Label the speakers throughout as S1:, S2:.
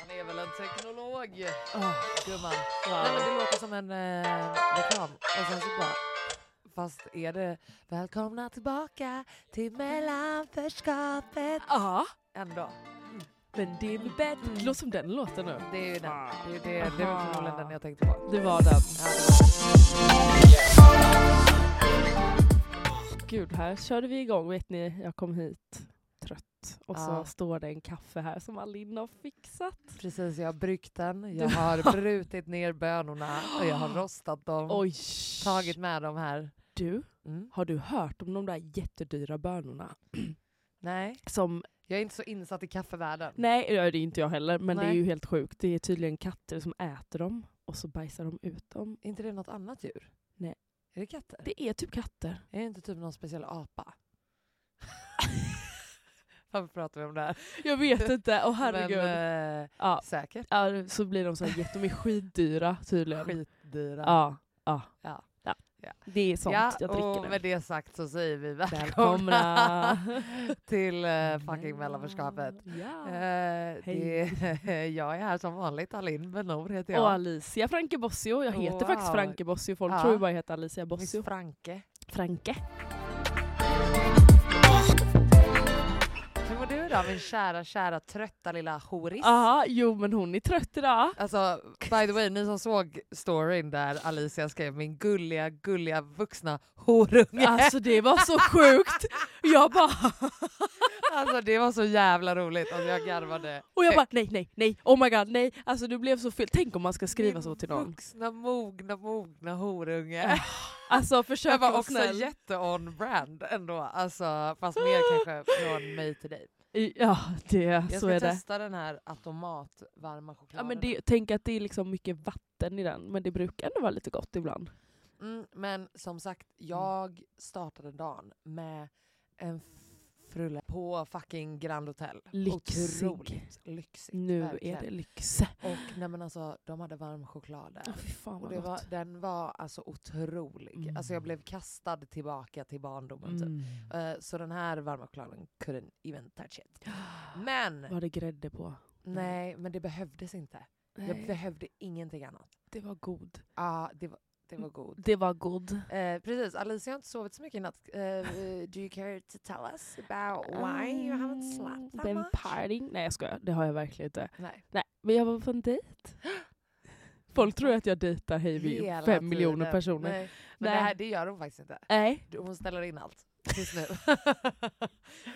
S1: Man är väl en teknolog, gumman. Nej, men det låter som en eh, reklam. Och sen så bara... Fast är det välkomna tillbaka till mellanförskapet?
S2: Ja,
S1: Ändå.
S2: men det är väl bättre.
S1: Mm.
S2: Det låter som den låten nu.
S1: Det är ju den. Det, är- det, är- det är
S2: Aha.
S1: väl förmodligen den jag tänkte på.
S2: Det var den. Gud, här körde vi igång. Vet ni, jag kom hit trött. Och så
S1: Ja.
S2: står det en kaffe här som Alinda har fixat.
S1: Precis, jag har bryggt den. Jag har brutit ner bönorna och jag har rostat dem.
S2: Oj!
S1: Tagit med dem här.
S2: Du,
S1: Mm.
S2: har du hört om de där jättedyra bönorna?
S1: Nej,
S2: Som,
S1: jag är inte så insatt i kaffevärlden.
S2: nej det är det inte jag heller, men det är
S1: Nej.
S2: ju helt sjukt. Det är tydligen katter som äter dem och så bajsar de ut dem.
S1: Är inte det något annat djur?
S2: Nej.
S1: Är det katter?
S2: Det är typ katter.
S1: Är det inte typ någon speciell apa? Varför pratar vi om det här?
S2: Jag vet inte, åh herregud.
S1: Men, eh,
S2: ja.
S1: Säkert.
S2: ja, så blir de så här, jätte- de är skitdyra tydligen.
S1: Skitdyra.
S2: Ja, ja.
S1: Ja. Ja.
S2: Det är sånt
S1: ja,
S2: jag
S1: och
S2: dricker nu.
S1: med det sagt så säger vi välkomna
S2: Välkomna! Mm.
S1: till eh, fucking mellanförskapet.
S2: Ja.
S1: Eh,
S2: Hej.
S1: det, jag är här som vanligt, Alin Benor heter
S2: Och
S1: jag.
S2: Alicia Franke Bossio. Jag heter
S1: Wow.
S2: faktiskt Franke Bossio. Folk
S1: Ja.
S2: tror ju bara jag heter Alicia
S1: Miss
S2: Bossio.
S1: Franke.
S2: Franke.
S1: Hur mår du idag min kära, kära trötta lilla horis?
S2: Ja, jo men hon är trött idag.
S1: Alltså by the way, ni som såg storyn där Alicia skrev min gulliga, gulliga vuxna horunge.
S2: Alltså det var så sjukt. Jag bara,
S1: Alltså det var så jävla roligt, alltså, jag garvade.
S2: och jag bara nej, nej, nej, oh my god, nej. Alltså det blev så fel. Tänk om man ska skriva så till någon.
S1: Vuxna, mogna, mogna horunge.
S2: Ja, Alltså
S1: Jag
S2: försök
S1: var
S2: vara
S1: också
S2: snäll.
S1: jätte-on-brand ändå, alltså, fast mer kanske från mig till dig.
S2: Ja, det,
S1: Jag
S2: så
S1: ska
S2: är det.
S1: testa den här automatvarma
S2: Ja,
S1: chokladen.
S2: men det, tänk att det är liksom mycket vatten i den, men det brukar ändå vara lite gott ibland.
S1: Mm, men som sagt,
S2: Mm.
S1: jag startade dagen med en f- frulle på fucking Grand Hotel.
S2: Lyxig.
S1: Otroligt lyxigt.
S2: Nu
S1: verkligen.
S2: är det lyx.
S1: Och nej men alltså, de hade varm choklad där.
S2: Ja, fy fan
S1: Och
S2: vad
S1: det var,
S2: gott.
S1: den var alltså otrolig.
S2: Mm.
S1: Alltså jag blev kastad tillbaka till barndomen typ.
S2: Mm.
S1: Eh, Så den här varma chokladen couldn't even touch it. Men,
S2: Var det grädde på?
S1: nej, men det behövdes inte. Jag behövde ingenting annat.
S2: det var god.
S1: Ja, det, var, det var god.
S2: Det var god.
S1: Eh, precis, Alicia har inte sovit så mycket i natt. Eh, eh, do you care to tell us about why you haven't slept
S2: Mm.
S1: that
S2: Been
S1: much?
S2: partying. Nej jag skojar, det har jag verkligen inte.
S1: Nej.
S2: Nej, men jag var på en dejt. Folk tror att jag dejtar hej vi
S1: Hela
S2: fem
S1: tiden.
S2: miljoner personer. Nej.
S1: Nej. Men Det,
S2: Nej.
S1: här, det gör hon faktiskt inte. Hon ställer in allt. Tills nu.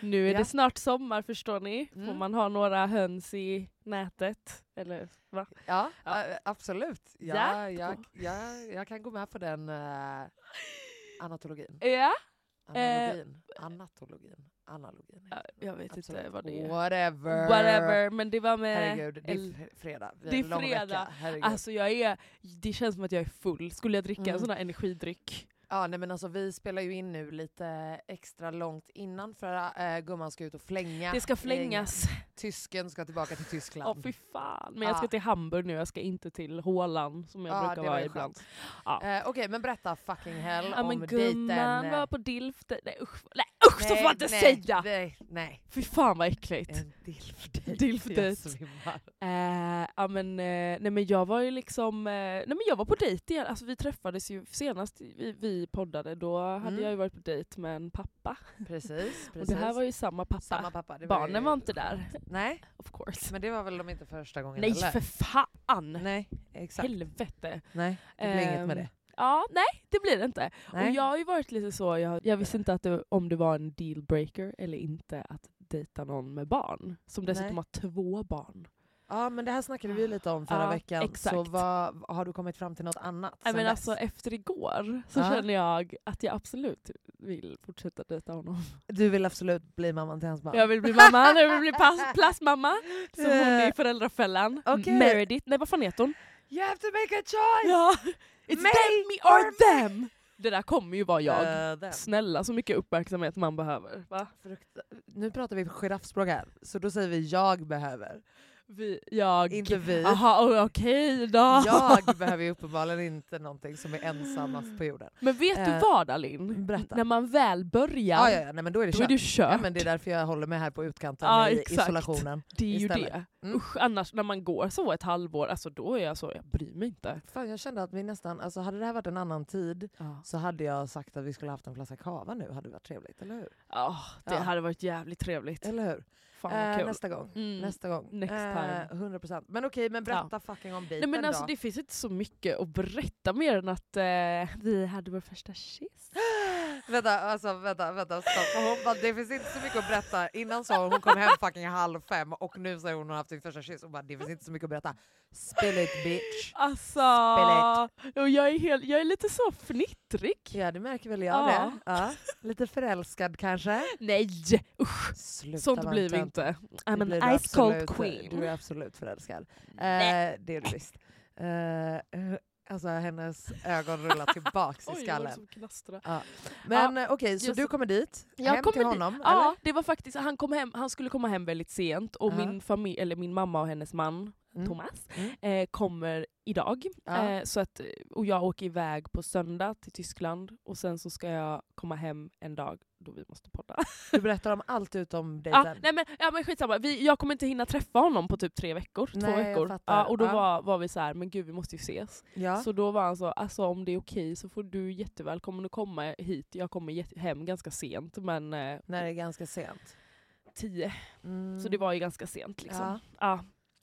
S2: Nu är
S1: Ja.
S2: det snart sommar förstår ni. Får
S1: Mm.
S2: man ha några höns i nätet? Eller va?
S1: Ja,
S2: Ja.
S1: a- absolut. Ja,
S2: Ja.
S1: jag, jag, jag kan gå med på den eh, anatologin.
S2: Ja.
S1: Analogin. Anatologin. Analogin.
S2: Eh, Ja, Jag vet inte
S1: Absolut.
S2: vad det är.
S1: Whatever.
S2: Whatever. Men det var med...
S1: Herregud, det är
S2: El-
S1: fr- fredag. Vi
S2: Det
S1: har
S2: är
S1: en lång
S2: fredag.
S1: Vecka. Herregud.
S2: Alltså jag är, det känns som att jag är full. Skulle jag dricka
S1: Mm.
S2: en sån här energidryck
S1: Ja, nej men alltså vi spelar ju in nu lite extra långt innan för äh, gumman ska ut och flänga.
S2: Det ska flängas.
S1: Tysken ska tillbaka till
S2: Ja,
S1: Tyskland.
S2: fy fan. Men jag ska
S1: Ja.
S2: till Hamburg nu, jag ska inte till Hålan som jag
S1: Ja,
S2: brukar
S1: det var
S2: vara
S1: ju
S2: ibland.
S1: skönt.
S2: Ja.
S1: Eh, Okej, men berätta fucking hell
S2: Ja,
S1: om
S2: men
S1: dejten.
S2: gumman var
S1: eh,
S2: på DILF... Nej usch, nej, usch så får man inte
S1: nej,
S2: säga!
S1: Nej, nej.
S2: Fy fan vad äckligt.
S1: En dilfdejt.
S2: Dilfdejt.
S1: Jag svimmar.
S2: Eh, ja, men, eh, nej men jag var ju liksom, eh, nej men jag var på dejt igen, alltså vi träffades ju senast vi, vi poddade, då hade
S1: Mm.
S2: jag ju varit på dejt med en pappa.
S1: Precis, precis.
S2: Och det här var ju samma pappa.
S1: Samma pappa. Det
S2: Barnen
S1: ju-
S2: var inte där,
S1: Nej,
S2: of course.
S1: men det var väl de inte första gången
S2: nej
S1: heller?
S2: för fan!
S1: Nej, exakt.
S2: Helvete.
S1: Nej, det blir inget
S2: Ehm,
S1: med det.
S2: Ja, nej det blir det inte.
S1: Nej.
S2: Ehm, Och jag har ju varit lite så, jag, jag visste inte att det, om det var en dealbreaker eller inte att dejta någon med barn. Som dessutom
S1: Nej.
S2: har två barn.
S1: Ja men det här snackade vi ju lite om förra
S2: Ja,
S1: veckan, så
S2: exakt.
S1: vad, har du kommit fram till något annat
S2: Nej
S1: sen
S2: men
S1: dess?
S2: alltså efter igår så
S1: Ja.
S2: känner jag att jag absolut vill fortsätta dejta honom.
S1: Du vill absolut bli mamman till hans barn?
S2: Jag vill bli mamma, jag vill bli pas- plastmamma. Som hon i Föräldrafällan.
S1: Okej.
S2: Meredith, nej vad fan heter hon?
S1: You have to make a choice!
S2: Ja. It's
S1: Mig
S2: them me
S1: or
S2: or them! Det där kommer ju vara jag.
S1: Eh, den.
S2: Snälla så mycket uppmärksamhet man behöver. Va?
S1: Frukt- nu pratar vi giraffspråk här, så då säger vi jag behöver.
S2: Vi, jag...
S1: Inte vi.
S2: Aha, o- okej då.
S1: Jag behöver ju uppenbarligen inte någonting som är ensammast på jorden.
S2: Men vet du
S1: Eh,
S2: vad Alin?
S1: berätta.
S2: När man väl börjar,
S1: Ja, ja, ja nej, men då är det
S2: då är
S1: kört.
S2: du kört.
S1: Ja, men det är därför jag håller mig här på utkanten
S2: Ja,
S1: i
S2: exakt.
S1: isolationen.
S2: Det är ju
S1: istället.
S2: det.
S1: Mm.
S2: Usch, annars när man går så ett halvår, alltså då är jag så, jag bryr mig inte.
S1: Fan, jag kände att vi nästan, alltså hade det här varit en annan tid så hade jag sagt att vi skulle haft en flaska cava nu, hade det varit trevligt, eller hur?
S2: Ja, Ah, det
S1: Ja.
S2: hade varit jävligt trevligt.
S1: Eller hur?
S2: Fan vad
S1: Eh,
S2: kul.
S1: Nästa gång.
S2: Mm.
S1: Nästa gång.
S2: Next time.
S1: Eh, 100%. Men okej, men berätta fucking om
S2: Nej
S1: dejten
S2: men alltså
S1: då.
S2: det finns inte så mycket att berätta mer än att eh, vi hade vår första kyss.
S1: Vänta, alltså vänta, vänta, stopp. Och Hon bara, det finns inte så mycket att berätta. Innan sa hon hon kom hem fucking halv fem och nu säger hon hon har haft sin första kyss och bara det finns inte så mycket att berätta. Spill it bitch.
S2: Alltså,
S1: Spill
S2: och jag, är helt, jag är lite så fnittrig.
S1: Ja det märker väl jag
S2: Ja.
S1: det. Ja. Lite förälskad kanske.
S2: Nej usch,
S1: Sluta
S2: sånt
S1: vara
S2: blir vi
S1: tönt.
S2: inte.
S1: Det
S2: I'm
S1: blir
S2: an
S1: du
S2: ice cold
S1: absolut. eh, Du
S2: queen. Mm.
S1: är absolut förälskad. Eh,
S2: Nej.
S1: det är du visst. Eh, alltså hennes ögon rullar tillbaks i
S2: Oj, vad det
S1: skallen.
S2: som knastrar.
S1: Ja. Men eh, okej, så
S2: just-
S1: du kommer dit,
S2: Jag
S1: hem till
S2: kommer dit-
S1: honom?
S2: Ja, det var faktiskt, han, kom hem, han skulle komma hem väldigt sent och
S1: Ja.
S2: min, familj, eller min mamma och hennes man
S1: Mm.
S2: Thomas
S1: Mm.
S2: eh, kommer idag.
S1: Ja.
S2: Eh, så att, och jag åker iväg på söndag till Tyskland och sen så ska jag komma hem en dag då vi måste podda.
S1: Du berättar om allt utom dejten?
S2: Ja, nej men, ja men skitsamma, vi, jag kommer inte hinna träffa honom på typ tre veckor.
S1: Nej,
S2: två
S1: jag
S2: veckor.
S1: fattar.
S2: Ja, och då
S1: Ja.
S2: var, var vi så här, men gud vi måste ju ses.
S1: Ja.
S2: Så då var han så, alltså om det är okej så får du jättevälkommen att komma hit. Jag kommer jätte- hem ganska sent, men eh,
S1: När det är ganska sent.
S2: tio.
S1: Mm.
S2: Så det var ju ganska sent liksom.
S1: Ja.
S2: Ja.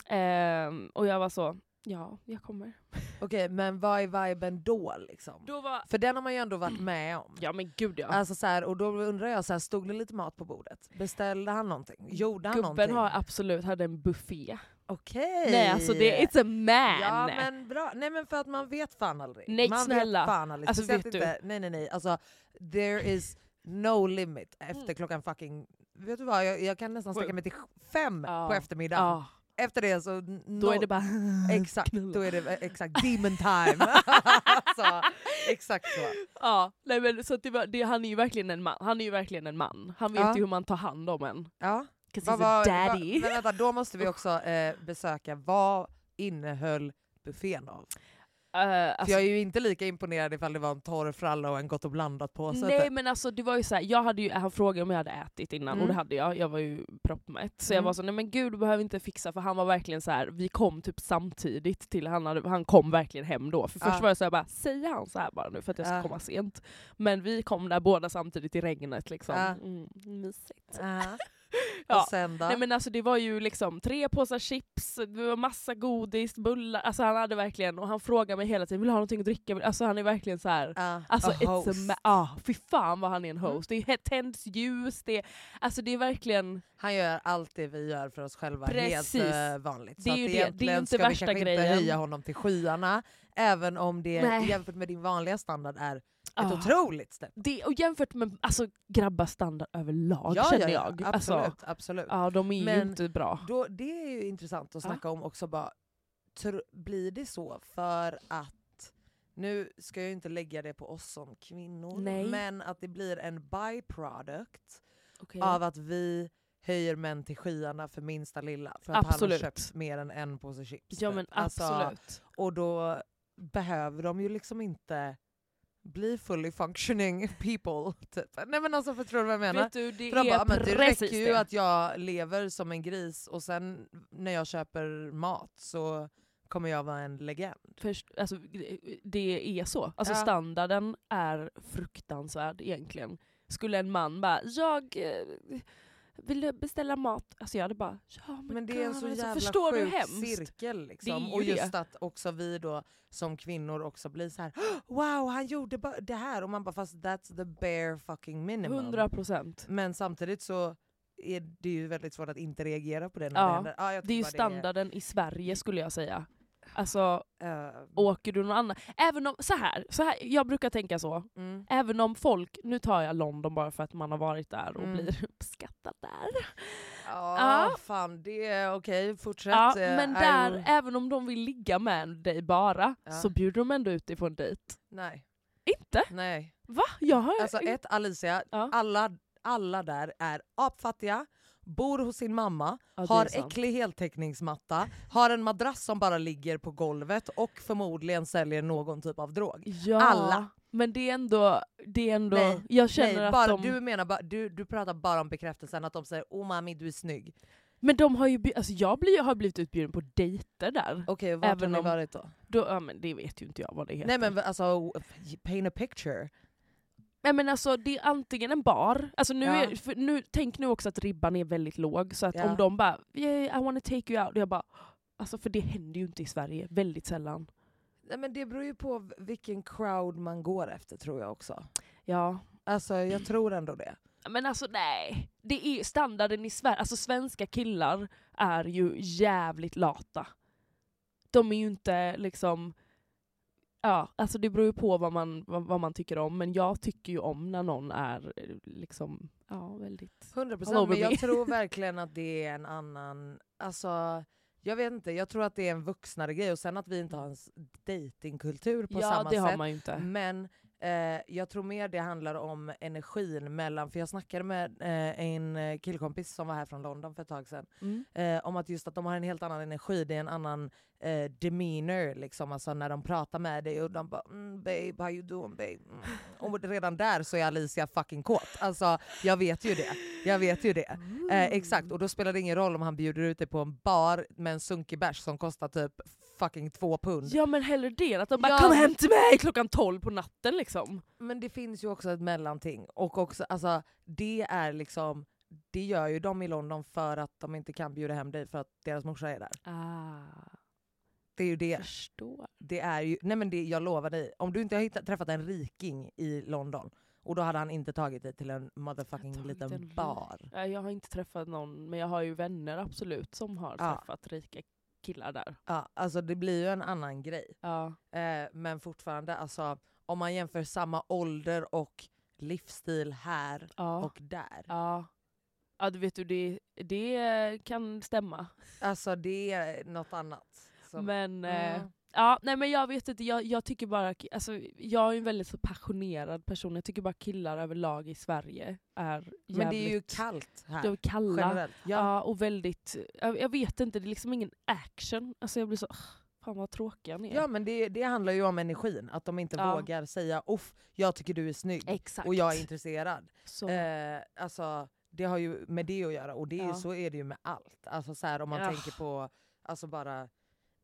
S2: Ehm, och jag var så, ja jag kommer.
S1: Okej, men vad är viben då liksom?
S2: Då var,
S1: För den har man ju ändå varit med om.
S2: ja men gud ja.
S1: Alltså så här, och då undrar jag, så här, stod det lite mat på bordet? Beställde han någonting? Gjorde han
S2: Gubben
S1: någonting?
S2: har absolut hade en buffé.
S1: Okej!
S2: Nej alltså det, it's a man!
S1: Ja men bra, nej men för att man vet fan aldrig.
S2: Nej,
S1: man
S2: snälla.
S1: Vet fan aldrig.
S2: Alltså,
S1: Speciellt
S2: vet du?
S1: Inte, nej nej nej, alltså there is no limit efter
S2: Mm.
S1: klockan fucking... Vet du vad, jag, jag kan nästan sträcka mig till fem
S2: Ja.
S1: på eftermiddagen.
S2: Ja,
S1: Efter det så... n-
S2: då är
S1: no-
S2: det bara
S1: Exakt,
S2: knulla.
S1: då är det eh, exakt demon time. alltså, exakt så.
S2: Ja, nej men så att det var, det, han är ju verkligen en man. Han är ju verkligen en man. Han vet
S1: Ja.
S2: ju hur man tar hand om en.
S1: Ja.
S2: 'Cause
S1: Vad
S2: he's a
S1: var- vad-
S2: daddy.
S1: men vänta, då måste vi också eh, besöka vad innehöll buffén av?
S2: Eh,
S1: För
S2: alltså,
S1: jag är ju inte lika imponerad ifall det var en torr fralla och en gott och blandat påse.
S2: nej
S1: typ.
S2: men alltså det var ju såhär, jag hade ju, han frågade om jag hade ätit innan
S1: Mm.
S2: och det hade jag, jag var ju proppmätt. Så
S1: Mm.
S2: jag var så nej men gud du behöver inte fixa för han var verkligen så här. vi kom typ samtidigt till, han, hade, han kom verkligen hem då. För först
S1: Ja.
S2: var jag såhär bara, säger han så här bara nu för att jag ska
S1: Ja.
S2: komma sent? Men vi kom där båda samtidigt i regnet liksom.
S1: Ja.
S2: Mm, mysigt.
S1: Ja.
S2: Ja.
S1: Och sen då?
S2: Nej men alltså det var ju liksom tre påsar chips, det var massa godis, bullar, alltså han hade verkligen, och han frågade mig hela tiden, vill du ha någonting att dricka? Alltså han är verkligen så här.
S1: Ja,
S2: Alltså
S1: a
S2: it's a
S1: host. Mm.
S2: ma- ah, fy fan vad han är en host. Det är- tänds ljus, det är, alltså det är verkligen,
S1: Han gör allt det vi gör för oss själva
S2: Precis.
S1: helt eh, vanligt.
S2: Det är
S1: att
S2: ju det. Det är
S1: egentligen
S2: ju inte
S1: ska
S2: värsta
S1: vi kanske inte
S2: grejen.
S1: höja honom till skyarna, även om det
S2: Nej.
S1: jämfört med din vanliga standard är ett
S2: Ah.
S1: otroligt steg.
S2: det, och jämfört med alltså, grabbars standard överlag
S1: Ja,
S2: känner
S1: ja, ja,
S2: jag.
S1: Absolut.
S2: Alltså,
S1: absolut.
S2: ja, de är
S1: Men-
S2: ju inte bra.
S1: Då, det är
S2: Ah.
S1: ju intressant att
S2: Ja.
S1: snacka om också. Bara, tr- blir det så för att Nu ska jag ju inte lägga det på oss som kvinnor,
S2: Nej.
S1: men att det blir en byproduct
S2: Okej.
S1: av att vi höjer män till skyarna för minsta lilla för att
S2: Absolut.
S1: han har köpt mer än en påse chips.
S2: Ja
S1: typ.
S2: men
S1: Alltså,
S2: absolut.
S1: och då behöver de ju liksom inte bli fully functioning people. Typ. Nej men alltså förstår du vad jag menar?
S2: Vet du, det
S1: För de
S2: är
S1: bara, men det
S2: precis
S1: räcker
S2: det.
S1: ju att jag lever som en gris och sen när jag köper mat så kommer jag vara en legend.
S2: Först, alltså, det är så. Alltså
S1: Ja.
S2: standarden är fruktansvärd egentligen. Skulle en man bara, jag eh, vill beställa mat. Alltså jag hade bara, ja men,
S1: Men det är en så
S2: alltså,
S1: jävla
S2: förstår
S1: sjuk
S2: du hemskt?
S1: cirkel.
S2: Det är
S1: Liksom.
S2: ju
S1: Och just
S2: det.
S1: att också vi då som kvinnor också blir så här: wow han gjorde bara det här och man bara fast that's the bare fucking minimum.
S2: 100 procent.
S1: Men samtidigt så är det ju väldigt svårt att inte reagera på det när
S2: Ja,
S1: det händer. Ja, jag
S2: Det är ju
S1: tycker bara
S2: standarden i Sverige skulle jag säga. Alltså
S1: det är, eh,
S2: åker du någon annan... Även om, så här, så här, jag brukar tänka så.
S1: mm.
S2: Även om folk, nu tar jag London bara för att man har varit där och
S1: Mm.
S2: blir uppskattad där.
S1: Ja,
S2: Ja.
S1: fan det är okej, fortsätt.
S2: Ja,
S1: eh,
S2: men
S1: I
S2: där,
S1: will-
S2: även om de vill ligga med dig bara,
S1: Ja.
S2: så bjuder de ändå ut dig på en dejt.
S1: Nej,
S2: Inte?
S1: nej.
S2: Va? Jag har
S1: Alltså
S2: ju-
S1: ett, Alicia,
S2: Ja.
S1: alla, alla där är apfattiga, bor hos sin mamma,
S2: Ja, det
S1: har
S2: är sant.
S1: äcklig heltäckningsmatta, har en madrass som bara ligger på golvet och förmodligen säljer någon typ av drog.
S2: ja,
S1: alla.
S2: Men det är ändå... Det är ändå
S1: Nej,
S2: jag känner
S1: Nej,
S2: att
S1: bara,
S2: de...
S1: du, menar, bara- du, du pratar bara om bekräftelsen, att de säger oh mami du är snygg.
S2: Men de har ju... bjud- Alltså jag blir, har blivit utbjuden på dejter där.
S1: Okej, vart
S2: Även
S1: har
S2: om-
S1: ni varit då?
S2: Då, ja, men det vet ju inte jag vad det heter.
S1: Nej men alltså, paint a picture.
S2: Nej men alltså det är antingen en bar, alltså nu
S1: Ja.
S2: är, för nu, tänk nu också att ribban är väldigt låg, så att
S1: Ja.
S2: om de bara yeah, “I wanna take you out” och jag bara Alltså för det händer ju inte i Sverige, väldigt sällan.
S1: Nej, men det beror ju på v- vilken crowd man går efter tror jag också.
S2: Ja.
S1: Alltså jag tror ändå det.
S2: Men alltså nej, det är standarden i Sverige, alltså svenska killar är ju jävligt lata. De är ju inte liksom, ja alltså det beror ju på vad man, vad, vad man tycker om, men jag tycker ju om när någon är eh, liksom, ja väldigt...
S1: 100
S2: All
S1: procent,
S2: over
S1: men
S2: me.
S1: jag tror verkligen att det är en annan... Alltså, jag vet inte, jag tror att det är en vuxnare grej och sen att vi inte har en s- datingkultur på
S2: ja det
S1: samma sätt. Mm.
S2: har man ju inte.
S1: Men eh, jag tror mer det handlar om energin mellan, för jag snackade med eh, en eh, killkompis som var här från London för ett tag sedan,
S2: Mm.
S1: eh, om att just att de har en helt annan energi, det är en annan eh, demeanor liksom, alltså när de pratar med dig och de bara mm, “babe, how you doing babe?” mm. Och redan där så är Alicia fucking kåt. Alltså jag vet ju det. Jag vet ju det. Eh, exakt, och då spelar det ingen roll om han bjuder ut dig på en bar med en sunkig bärs som kostar typ fucking två pund.
S2: Ja men hellre det än att de bara
S1: Ja.
S2: kom hem till mig klockan 12 på natten liksom.
S1: Men det finns ju också ett mellanting. Och också, alltså, det är liksom det gör ju de i London för att de inte kan bjuda hem dig för att deras morsa är där.
S2: Ah,
S1: Det är ju det.
S2: förstår.
S1: det är ju, nej men det, jag lovar dig, om du inte har hittat, träffat en riking i London och då hade han inte tagit dig till en
S2: Jag
S1: motherfucking
S2: har tagit
S1: liten
S2: en rik-
S1: bar.
S2: Nej, Jag har inte träffat någon men jag har ju vänner absolut som har
S1: Ja.
S2: träffat rika killar där.
S1: Ja, alltså det blir ju en annan grej.
S2: Ja.
S1: Eh, men fortfarande, alltså, om man jämför samma ålder och livsstil här
S2: Ja.
S1: och där.
S2: ja. Ja du vet du det, det kan stämma.
S1: Alltså det är något annat. som-
S2: Men eh,
S1: Mm.
S2: Ja, nej men jag vet inte, jag, jag tycker bara, alltså, jag är ju en väldigt så passionerad person, jag tycker bara killar överlag i Sverige är jävligt...
S1: men det är ju kallt här.
S2: de är kalla.
S1: generellt.
S2: Ja.
S1: Ja.
S2: och väldigt, jag, jag vet inte, det är liksom ingen action. Alltså jag blir så, "Ugh, fan vad tråkiga ni är.
S1: ja men det, det handlar ju om energin, att de inte
S2: Ja.
S1: vågar säga off, jag tycker du är snygg
S2: Exakt.
S1: och jag är intresserad.
S2: Så,
S1: Eh, alltså, det har ju med det att göra och det är,
S2: Ja.
S1: så är det ju med allt. Alltså, så här, om man
S2: Ja.
S1: tänker på alltså, bara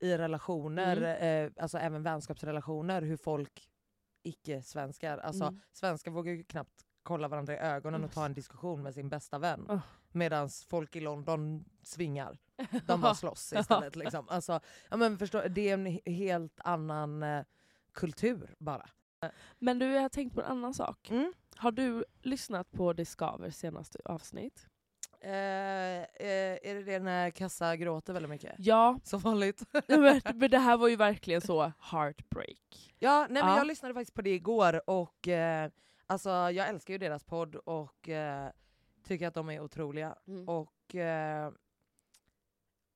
S1: i relationer, eh, alltså även vänskapsrelationer, hur folk icke-svenskar, alltså
S2: Mm.
S1: svenskar vågar ju knappt kolla varandra i ögonen och ta en diskussion med sin bästa vän.
S2: Ah.
S1: Medan folk i London svingar. De bara slåss istället. Liksom. Alltså, ja, men förstå, det är en he- helt annan eh, kultur bara.
S2: Men du, jag har tänkt på en annan sak.
S1: Mm.
S2: Har du lyssnat på Det skaver senaste avsnitt?
S1: Eh, eh, är det det när Kassa gråter väldigt mycket?
S2: Ja,
S1: Som vanligt.
S2: men, men det här var ju verkligen så heartbreak.
S1: ja, nej, men
S2: Ja.
S1: Jag lyssnade faktiskt på det igår och eh, alltså, jag älskar ju deras podd och eh, tycker att de är otroliga.
S2: Mm.
S1: Och, eh,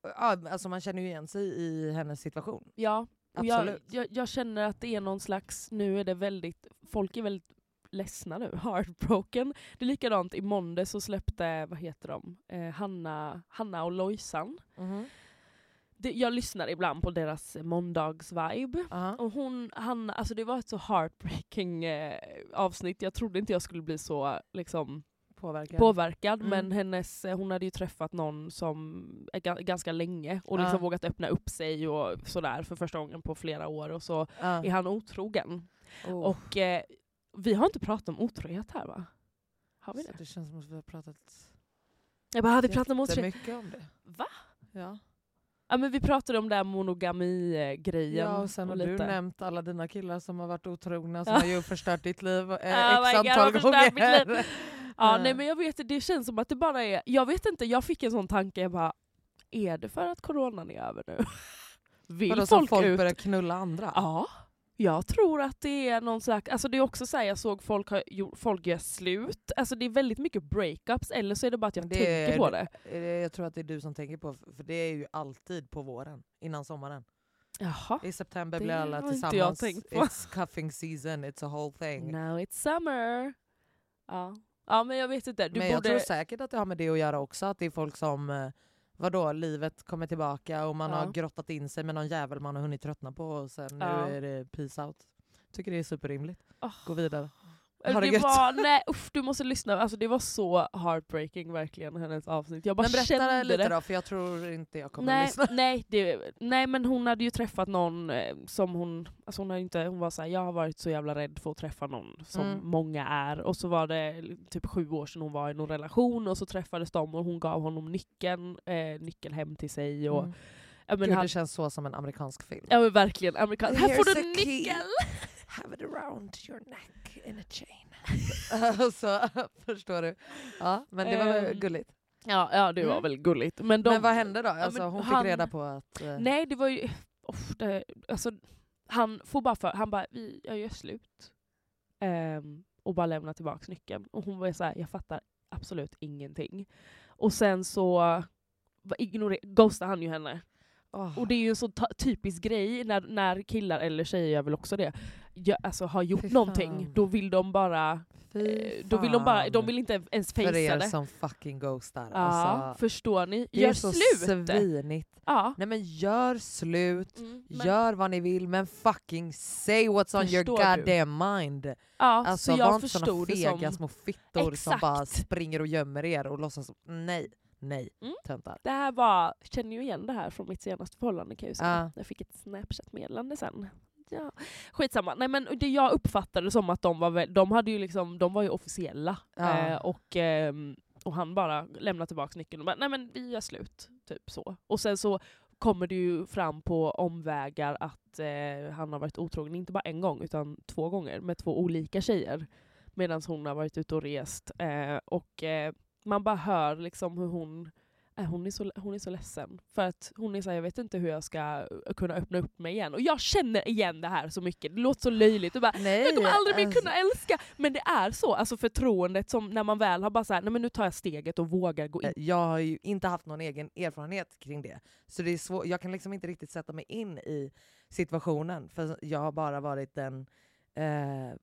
S1: ja, alltså, man känner ju igen sig i hennes situation.
S2: Ja, Och jag,
S1: Absolut.
S2: jag, jag känner att det är någon slags, nu är det väldigt, folk är väldigt ledsna nu, heartbroken. Det är likadant i måndag så släppte, vad heter de, eh, Hanna, Hanna och Lojsan.
S1: Mhm.
S2: Det, jag lyssnar ibland på deras måndagsvibe.
S1: Aha.
S2: Och hon, han, alltså det var ett så heartbreaking eh, avsnitt. Jag trodde inte jag skulle bli så liksom,
S1: Påverkar.
S2: påverkad.
S1: Mm.
S2: Men hennes, eh, hon hade ju träffat någon som är ga- ganska länge och liksom
S1: Ja.
S2: vågat öppna upp sig och sådär för första gången på flera år. Och så
S1: Ja.
S2: är han otrogen.
S1: Oh.
S2: Och eh, vi har inte pratat om otrohet här va? Har vi
S1: Så
S2: det?
S1: det känns som att vi har pratat
S2: Jag bara, hade vi pratat om otrohet?
S1: mycket om det.
S2: Va?
S1: Ja.
S2: Ja men vi pratade om den här monogami-grejen.
S1: ja, och sen har du nämnt alla dina killar som har varit otrogna som
S2: Ja.
S1: har ju förstört ditt liv eh,
S2: Oh my God,
S1: x antal
S2: de har
S1: gånger.
S2: förstört mitt liv. Ja,
S1: Eh.
S2: nej men jag vet inte, det känns som att det bara är, jag vet inte, jag fick en sån tanke, jag bara, är det för att coronan är över nu? Vill
S1: Vadå, som
S2: folk,
S1: folk
S2: ut?
S1: börjar knulla andra?
S2: Ja, jag tror att det är någon slags, alltså det är också såhär, jag såg folk, har, gjort- folk gör slut, alltså det är väldigt mycket breakups, eller så är det bara att jag
S1: Det
S2: tänker
S1: är-
S2: på det.
S1: Eh, Jag tror att det är du som tänker på, för det är ju alltid på våren, innan sommaren.
S2: Jaha.
S1: I september
S2: Ah, Det
S1: blir alla
S2: har inte jag
S1: tillsammans.
S2: tänkt på.
S1: It's cuffing season, it's a whole thing.
S2: Now it's summer. Ja. ja, men jag vet inte, du
S1: men jag
S2: borde...
S1: tror säkert att det har med det att göra också, att det är folk som, eh, vadå, livet kommer tillbaka och man
S2: Ja.
S1: har grottat in sig med någon jävel man har hunnit tröttna på och sen nu
S2: Ja.
S1: är det peace out. Tycker det är superrimligt.
S2: Ah.
S1: Gå vidare.
S2: Eh,
S1: Ha det
S2: det
S1: gött.
S2: var, nej usch du måste lyssna, alltså det var så heartbreaking verkligen hennes avsnitt. Jag bara
S1: Men berätta
S2: kände
S1: lite
S2: det.
S1: då, för jag tror inte jag kommer
S2: nej,
S1: lyssna.
S2: nej, det, nej men hon hade ju träffat någon eh, som hon, alltså hon, hade inte, hon var såhär, jag har varit så jävla rädd för att träffa någon som
S1: Mm.
S2: många är. Och så var det typ sju år sedan hon var i någon relation och så träffades de och hon gav honom nyckeln, eh, nyckel hem till sig. Och,
S1: Mm.
S2: ja, men
S1: Gud,
S2: han,
S1: det känns så som en amerikansk film.
S2: ja men verkligen, amerikan, här får
S1: Here's
S2: du
S1: a key.
S2: nyckel!
S1: Have it around your neck in a chain. alltså, förstår du? Ja, men det var väl
S2: Ehm,
S1: gulligt.
S2: Ja, ja det var
S1: Mm.
S2: väl gulligt. Men, de,
S1: men vad hände då? Alltså,
S2: men
S1: hon
S2: han-
S1: fick reda på att... eh,
S2: Nej, det var ju... Uff, det, alltså, han får bara för... Han bara, vi, jag gör slut. Ehm, och bara lämnar tillbaka nyckeln. Och hon var så här, jag fattar absolut ingenting. Och sen så va- ignorer- ghostade han ju henne.
S1: åh.
S2: Och det är ju en så ta- typisk grej när, när killar, eller tjejer gör väl också det, gör, alltså, har gjort
S1: Fy
S2: någonting.
S1: fan.
S2: Då vill de bara...
S1: Fy
S2: eh, Då vill de bara... De
S1: fan.
S2: vill inte ens
S1: För
S2: fejsa
S1: er
S2: det.
S1: som fucking ghostar.
S2: Ja,
S1: Alltså,
S2: förstår ni?
S1: det
S2: Gör
S1: är så
S2: slut!
S1: svinigt.
S2: Ja.
S1: Nej men gör slut,
S2: Mm,
S1: gör vad ni vill men fucking say what's on your
S2: Förstår du?
S1: goddamn mind.
S2: ja,
S1: Alltså
S2: så
S1: var
S2: jag
S1: inte såna
S2: förstod det som...
S1: fega små fittor som
S2: Exakt.
S1: bara springer och gömmer er och låtsas nej, nej,
S2: Mm.
S1: töntar.
S2: Det här var, känner ju igen det här från mitt senaste förhållande kan jag ju säga.
S1: Ja.
S2: Jag fick ett snapchat-meddelande sen. Ja. Skitsamma, nej men det jag uppfattade som att de var, väl- de hade ju liksom, de var ju officiella.
S1: Ja.
S2: Eh, och, ehm, och han bara lämnade tillbaka nyckeln och bara, nej men vi gör slut. Typ så. Och sen så kommer det ju fram på omvägar att eh, han har varit otrogen, inte bara en gång utan två gånger med två olika tjejer. Medan hon har varit ute och rest. Eh, och eh, man bara hör liksom hur hon Nej, hon, är så, hon är så ledsen. För att hon är såhär, jag vet inte hur jag ska eh, kunna öppna upp mig igen. Och jag känner igen det här så mycket, det låter så löjligt. Och bara,
S1: Nej,
S2: jag kommer aldrig mer
S1: alltså,
S2: kunna älska! Men det är så, alltså förtroendet som när man väl har bara såhär, nej men nu tar jag steget och vågar gå in.
S1: eh, Jag har ju inte haft någon egen erfarenhet kring det. Så det är svår, jag kan liksom inte riktigt sätta mig in i situationen för jag har bara varit den eh,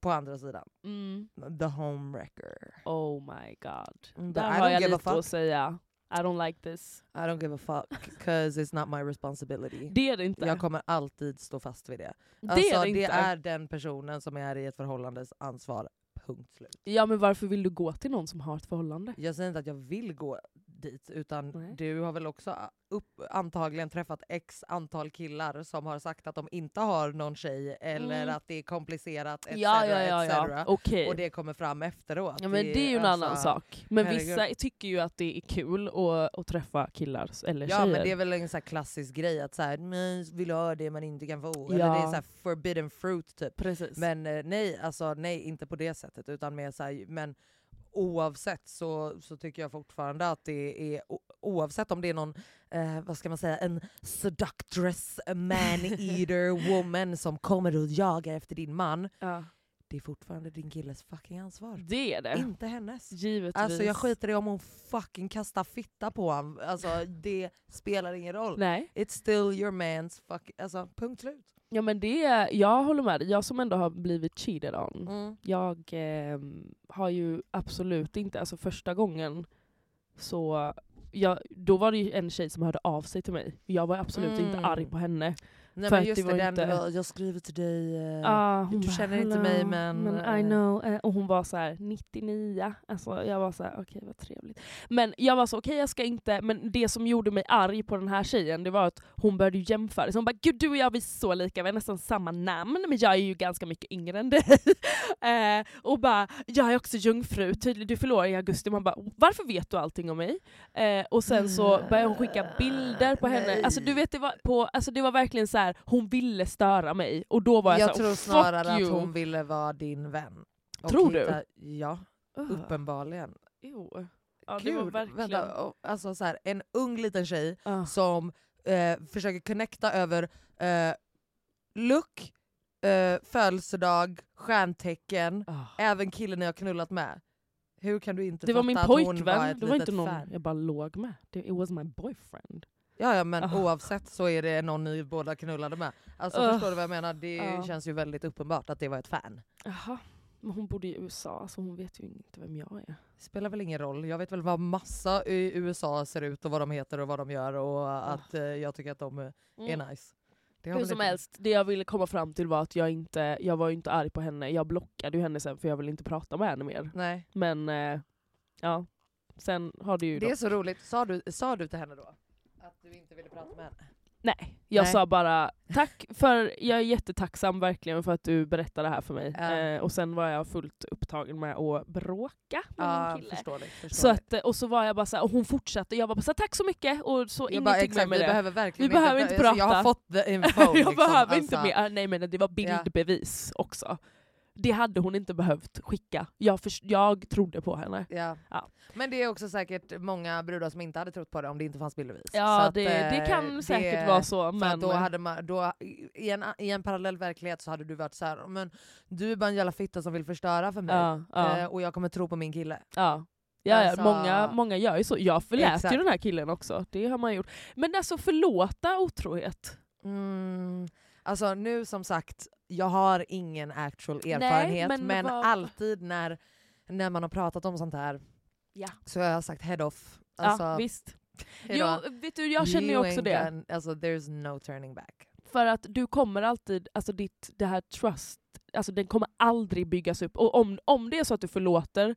S1: på andra sidan.
S2: Mm.
S1: The homewrecker.
S2: Oh my god.
S1: Mm, but
S2: Där
S1: I
S2: har
S1: don't
S2: jag
S1: give a
S2: lite
S1: fuck.
S2: att säga. I don't like this.
S1: I don't give a fuck, cause it's not my responsibility.
S2: Det är det inte.
S1: Jag kommer alltid stå fast vid det.
S2: det
S1: Alltså,
S2: är det, inte.
S1: är den personen som är i ett förhållandes ansvar. Punkt slut.
S2: Ja men varför vill du gå till någon som har ett förhållande?
S1: Jag säger inte att jag vill gå dit, utan
S2: Nej.
S1: du har väl också a- upp, antagligen träffat x antal killar som har sagt att de inte har någon tjej eller
S2: Mm.
S1: att det är komplicerat etc.
S2: ja ja ja, ja.
S1: etc.
S2: okej.
S1: Och det kommer fram efteråt.
S2: Ja, men det är ju en annan
S1: alltså-
S2: sak. Men
S1: herregud.
S2: vissa tycker ju att det är kul att, att träffa killar s- eller
S1: Ja
S2: tjejer.
S1: men det är väl en sån här klassisk grej att så här, "Nej, vill ha det man inte kan få. Eller
S2: Ja.
S1: det är så här forbidden fruit typ.
S2: Precis.
S1: Men eh, nej, alltså nej inte på det sättet. Utan mer så här, men oavsett så, så tycker jag fortfarande att det är, o- oavsett om det är någon, eh, vad ska man säga, en seductress, man-eater woman som kommer och jagar efter din man.
S2: ja.
S1: Det är fortfarande din killes fucking ansvar.
S2: Det är det.
S1: Inte hennes.
S2: Givetvis.
S1: Alltså jag skiter i om hon fucking kastar fitta på honom. Alltså det spelar ingen roll.
S2: Nej.
S1: It's still your man's fucking... Alltså punkt slut.
S2: Ja men det, jag håller med dig. Jag som ändå har blivit cheated on.
S1: Mm.
S2: Jag ehm, har ju absolut inte, alltså första gången så, jag, då var det ju en tjej som hörde av sig till mig. Jag var absolut inte
S1: Mm.
S2: arg på henne.
S1: Nej
S2: För
S1: men
S2: att
S1: just
S2: det
S1: det,
S2: var
S1: den
S2: inte-
S1: var, jag skriver till dig... eh,
S2: Ah, hon
S1: du
S2: bara,
S1: känner inte
S2: "Hello,
S1: mig, men,
S2: men I
S1: eh."
S2: know. Eh, Och hon var så här 99. Alltså, jag var så här, okej vad trevligt. Men jag var så, okej jag ska inte, men det som gjorde mig arg på den här tjejen det var att hon började ju jämföra. Så hon bara, gud du och jag vi är så lika, vi har nästan samma namn men jag är ju ganska mycket yngre än dig. eh, och bara, jag är också jungfru, tydligen du förlorar i augusti. Man bara, varför vet du allting om mig? Eh, och sen så började hon skicka bilder på henne. Alltså du vet, det var, på, alltså, det var verkligen så här. hon ville störa mig. Och då var jag, så
S1: jag
S2: här,
S1: tror
S2: "Oh,
S1: snarare
S2: fuck
S1: att
S2: you.
S1: hon ville vara din vän. Och
S2: Tror du?
S1: Ja, uppenbarligen.
S2: Jo. Ja, det var
S1: Gud,
S2: verkligen...
S1: vänta, och- alltså så här, en ung liten tjej
S2: Ah.
S1: som eh, försöker connecta över eh, look, eh, födelsedag, stjärntecken,
S2: Ah.
S1: även killen jag knullat med. Hur kan du inte
S2: Det var
S1: fatta
S2: min
S1: att hon var
S2: pojkvän,
S1: ett
S2: det var inte
S1: litet
S2: någon
S1: fan?
S2: jag bara låg med. Det- It was my boyfriend.
S1: Ja, ja men
S2: Ah.
S1: oavsett så är det någon ni båda knullade med. Alltså
S2: Ah.
S1: förstår du vad jag menar? Det
S2: Ja.
S1: känns ju väldigt uppenbart att det var ett fan.
S2: Jaha. Men hon bodde i USA, så hon vet ju inte vem jag är.
S1: spelar väl ingen roll. Jag vet väl vad massa i USA ser ut och vad de heter och vad de gör och att eh, jag tycker att de eh, är nice. Det
S2: Ah. Mm. Hur
S1: har väl
S2: som
S1: inte-
S2: helst, det jag ville komma fram till var att jag inte, jag var ju inte arg på henne. Jag blockade ju henne sen för jag ville inte prata med henne mer.
S1: Nej.
S2: Men eh, ja, sen har det ju
S1: Det är
S2: då...
S1: så roligt. Sa du, sa du till henne då? Att du inte ville prata med henne?
S2: Nej, jag
S1: Nej.
S2: sa bara tack för, jag är jättetacksam verkligen för att du berättade det här för mig.
S1: Ja.
S2: Eh, och sen var jag fullt upptagen med att bråka med
S1: Ja,
S2: min kille.
S1: förståeligt. förståeligt.
S2: Så att, eh, och så var jag bara så här, och hon fortsatte, jag var bara så här, tack så mycket och så
S1: jag
S2: ingenting
S1: bara,
S2: mer
S1: exakt, vi
S2: med det.
S1: behöver verkligen
S2: Vi behöver inte
S1: Alltså, jag har
S2: prata.
S1: fått the info.
S2: jag
S1: liksom.
S2: behöver
S1: Alltså,
S2: inte mer, Ah, nej men det var bildbevis också. Det hade hon inte behövt skicka. Jag, förs- jag trodde på henne.
S1: Ja.
S2: Ja.
S1: Men det är också säkert många brudar som inte hade trott på det om det inte fanns bildbevis.
S2: Ja
S1: Så att,
S2: det, det
S1: eh,
S2: kan
S1: det-
S2: säkert vara så
S1: För
S2: men...
S1: att då hade man, då, i, en, I en parallell verklighet så hade du varit så här, men du är bara en jävla fitta som vill förstöra för mig
S2: ja, ja,
S1: eh, och jag kommer tro på min kille.
S2: ja. Ja, ja,
S1: alltså-
S2: många, många gör ju så. Jag förlät
S1: Exakt.
S2: ju den här killen också. Det har man gjort. Men alltså förlåta otrohet.
S1: Mm. Alltså nu som sagt, jag har ingen actual erfarenhet
S2: men
S1: men,
S2: vad-
S1: alltid när, när man har pratat om sånt här
S2: Ja.
S1: så har jag sagt head off.
S2: ja,
S1: Alltså,
S2: visst.
S1: hejdå.
S2: Jo, vet du, jag känner ju
S1: You
S2: också
S1: ain't
S2: det.
S1: gonna- alltså, there's no turning back.
S2: För att du kommer alltid, alltså ditt, det här trust, alltså den kommer aldrig byggas upp. Och om, om det är så att du förlåter,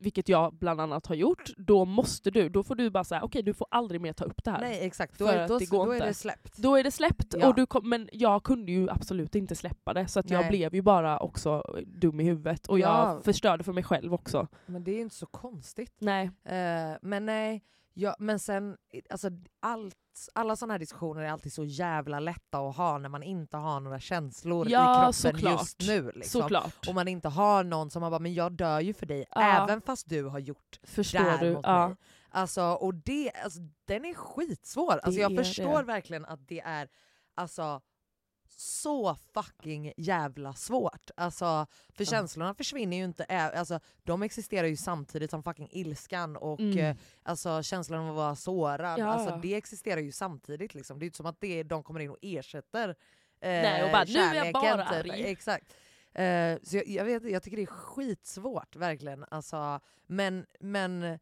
S2: vilket jag bland annat har gjort, då måste du, då får du bara säga okej du får aldrig mer ta upp det här.
S1: Nej exakt, då,
S2: För
S1: är-
S2: att
S1: då,
S2: det
S1: då,
S2: går
S1: är
S2: inte.
S1: det släppt.
S2: Då är det släppt,
S1: Ja.
S2: och du kom, men jag kunde ju absolut inte släppa det så att jag
S1: Nej.
S2: blev ju bara också dum i huvudet och
S1: Ja.
S2: jag förstörde för mig själv också.
S1: Men det är inte så konstigt.
S2: Nej.
S1: Eh, men nej, ja, men sen, alltså, allt, alla sådana här diskussioner är alltid så jävla lätta att ha när man inte har några känslor
S2: Ja,
S1: i kroppen
S2: såklart.
S1: just nu. Liksom.
S2: Såklart.
S1: Och man inte har någon som har bara “men jag dör ju för dig,
S2: Ja.
S1: även fast du har gjort det
S2: Förstår
S1: här
S2: du?
S1: mot
S2: Ja.
S1: mig”. Alltså, och det, alltså, den är skitsvår. Alltså, jag
S2: är
S1: förstår
S2: det.
S1: verkligen att det är alltså, så fucking jävla svårt. Alltså, för känslorna försvinner ju inte, ä- alltså, de existerar ju samtidigt som fucking ilskan och
S2: Mm.
S1: eh, alltså, känslan av att vara sårad.
S2: Ja.
S1: Alltså, det existerar ju samtidigt. Liksom. Det är ju inte som att det, de kommer in och ersätter eh,
S2: Nej, och bara, "Nu är jag
S1: kärleken",
S2: bara
S1: typ.
S2: arg.
S1: Exakt. Eh, så jag, jag, vet, jag tycker det är skitsvårt verkligen. Alltså, men men eh,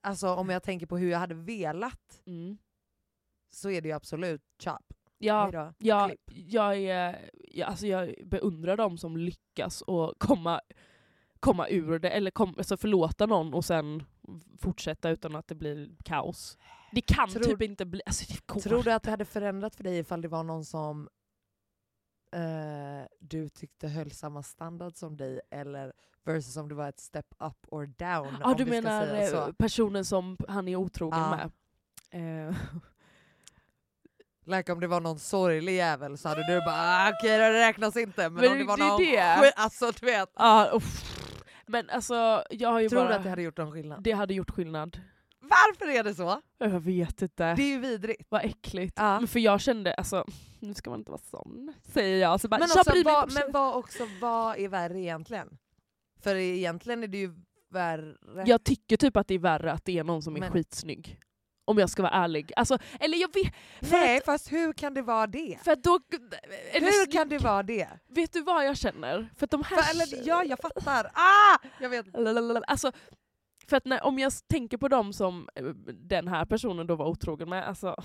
S1: alltså, om jag tänker på hur jag hade velat
S2: Mm.
S1: så är det ju absolut chop.
S2: Ja,
S1: Hejdå.
S2: Jag,
S1: Klipp.
S2: jag, är, jag, alltså jag beundrar dem som lyckas och komma, komma ur det, eller kom, alltså förlåta någon och sen fortsätta utan att det blir kaos. Det kan
S1: Tror-
S2: typ inte bli... Alltså det går.
S1: Tror du att det hade förändrat för dig ifall det var någon som eh, du tyckte höll samma standard som dig eller versus om det var ett step up or down?
S2: ah,
S1: om
S2: du
S1: vi ska
S2: menar
S1: säga så.
S2: eh, personen som han är otrogen
S1: Ja.
S2: med? Eh,
S1: Like om det var någon sorglig jävel så hade du bara ah, okej det räknas inte. Men,
S2: Men
S1: om det
S2: det-
S1: var
S2: det är
S1: någon
S2: det.
S1: skit- Alltså du vet.
S2: ah, uff. Men alltså, jag har ju
S1: Tror
S2: bara...
S1: du att det hade gjort någon skillnad?
S2: det hade gjort skillnad.
S1: Varför är det så?
S2: Jag vet inte.
S1: Det är ju vidrigt.
S2: Vad äckligt.
S1: Ja.
S2: Men för jag kände, alltså, nu ska man inte vara sån, säger jag. Så bara,
S1: Men
S2: jag
S1: också,
S2: bryr mig
S1: vad,
S2: inte.
S1: men vad, också, vad är värre egentligen? För egentligen är det ju värre...
S2: Jag tycker typ att det är värre att det är någon som är
S1: Men-
S2: skitsnygg. Om jag ska vara ärlig. Alltså, eller jag vet... För
S1: Nej,
S2: att,
S1: fast hur kan det vara det?
S2: för att då... Eller,
S1: Hur
S2: sn-
S1: kan det vara det?
S2: Vet du vad jag känner? För att de här...
S1: För, eller, ja, jag fattar. Ah! Jag vet.
S2: Lalalala. Alltså, för att när, om jag s- tänker på dem som eh, den här personen då var otrogen med, alltså...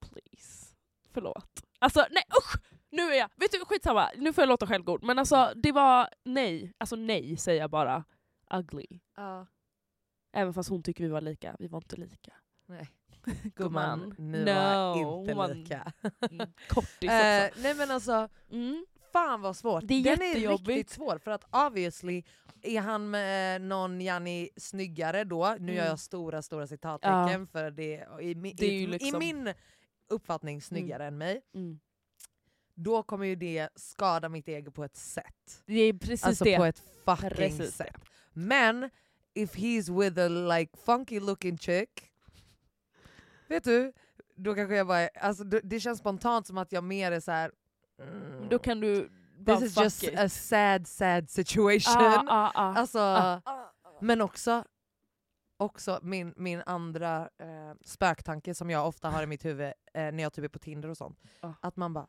S2: Please. Förlåt. Alltså nej usch! Nu är jag... Vet du, skitsamma. Nu får jag låta självgod. Men alltså det var nej. Alltså nej säger jag bara. Ugly.
S1: Ja.
S2: Även fast hon tycker vi var lika. Vi var inte lika.
S1: Nej.
S2: Gumman,
S1: Gumman, ni
S2: no,
S1: var inte
S2: woman.
S1: lika.
S2: Mm, Kortis
S1: Eh,
S2: också.
S1: nej men alltså,
S2: Mm.
S1: fan vad svårt.
S2: Det är
S1: Den är
S2: jättejobbigt.
S1: riktigt svår för att obviously är han med eh, någon Janni snyggare då, nu gör
S2: Mm.
S1: jag stora stora citattecken för det, i, mi,
S2: Det är
S1: i,
S2: ju liksom-
S1: i min uppfattning snyggare än mig,
S2: Mm.
S1: då kommer ju det skada mitt ego på ett sätt.
S2: Det är precis
S1: alltså
S2: det.
S1: på ett fucking
S2: Precis
S1: sätt. Men if he's with a like funky looking chick, vet du, då kanske jag bara, alltså, det, det känns spontant som att jag mer är så här. mm,
S2: Då kan du bara
S1: This is
S2: fuck
S1: just
S2: it.
S1: a sad sad situation.
S2: Ah, ah, ah.
S1: Alltså,
S2: Ah.
S1: Men också, också min, min andra eh, spöktanke som jag ofta har i mitt huvud eh, när jag typ är på Tinder och sånt.
S2: Ah.
S1: Att man bara,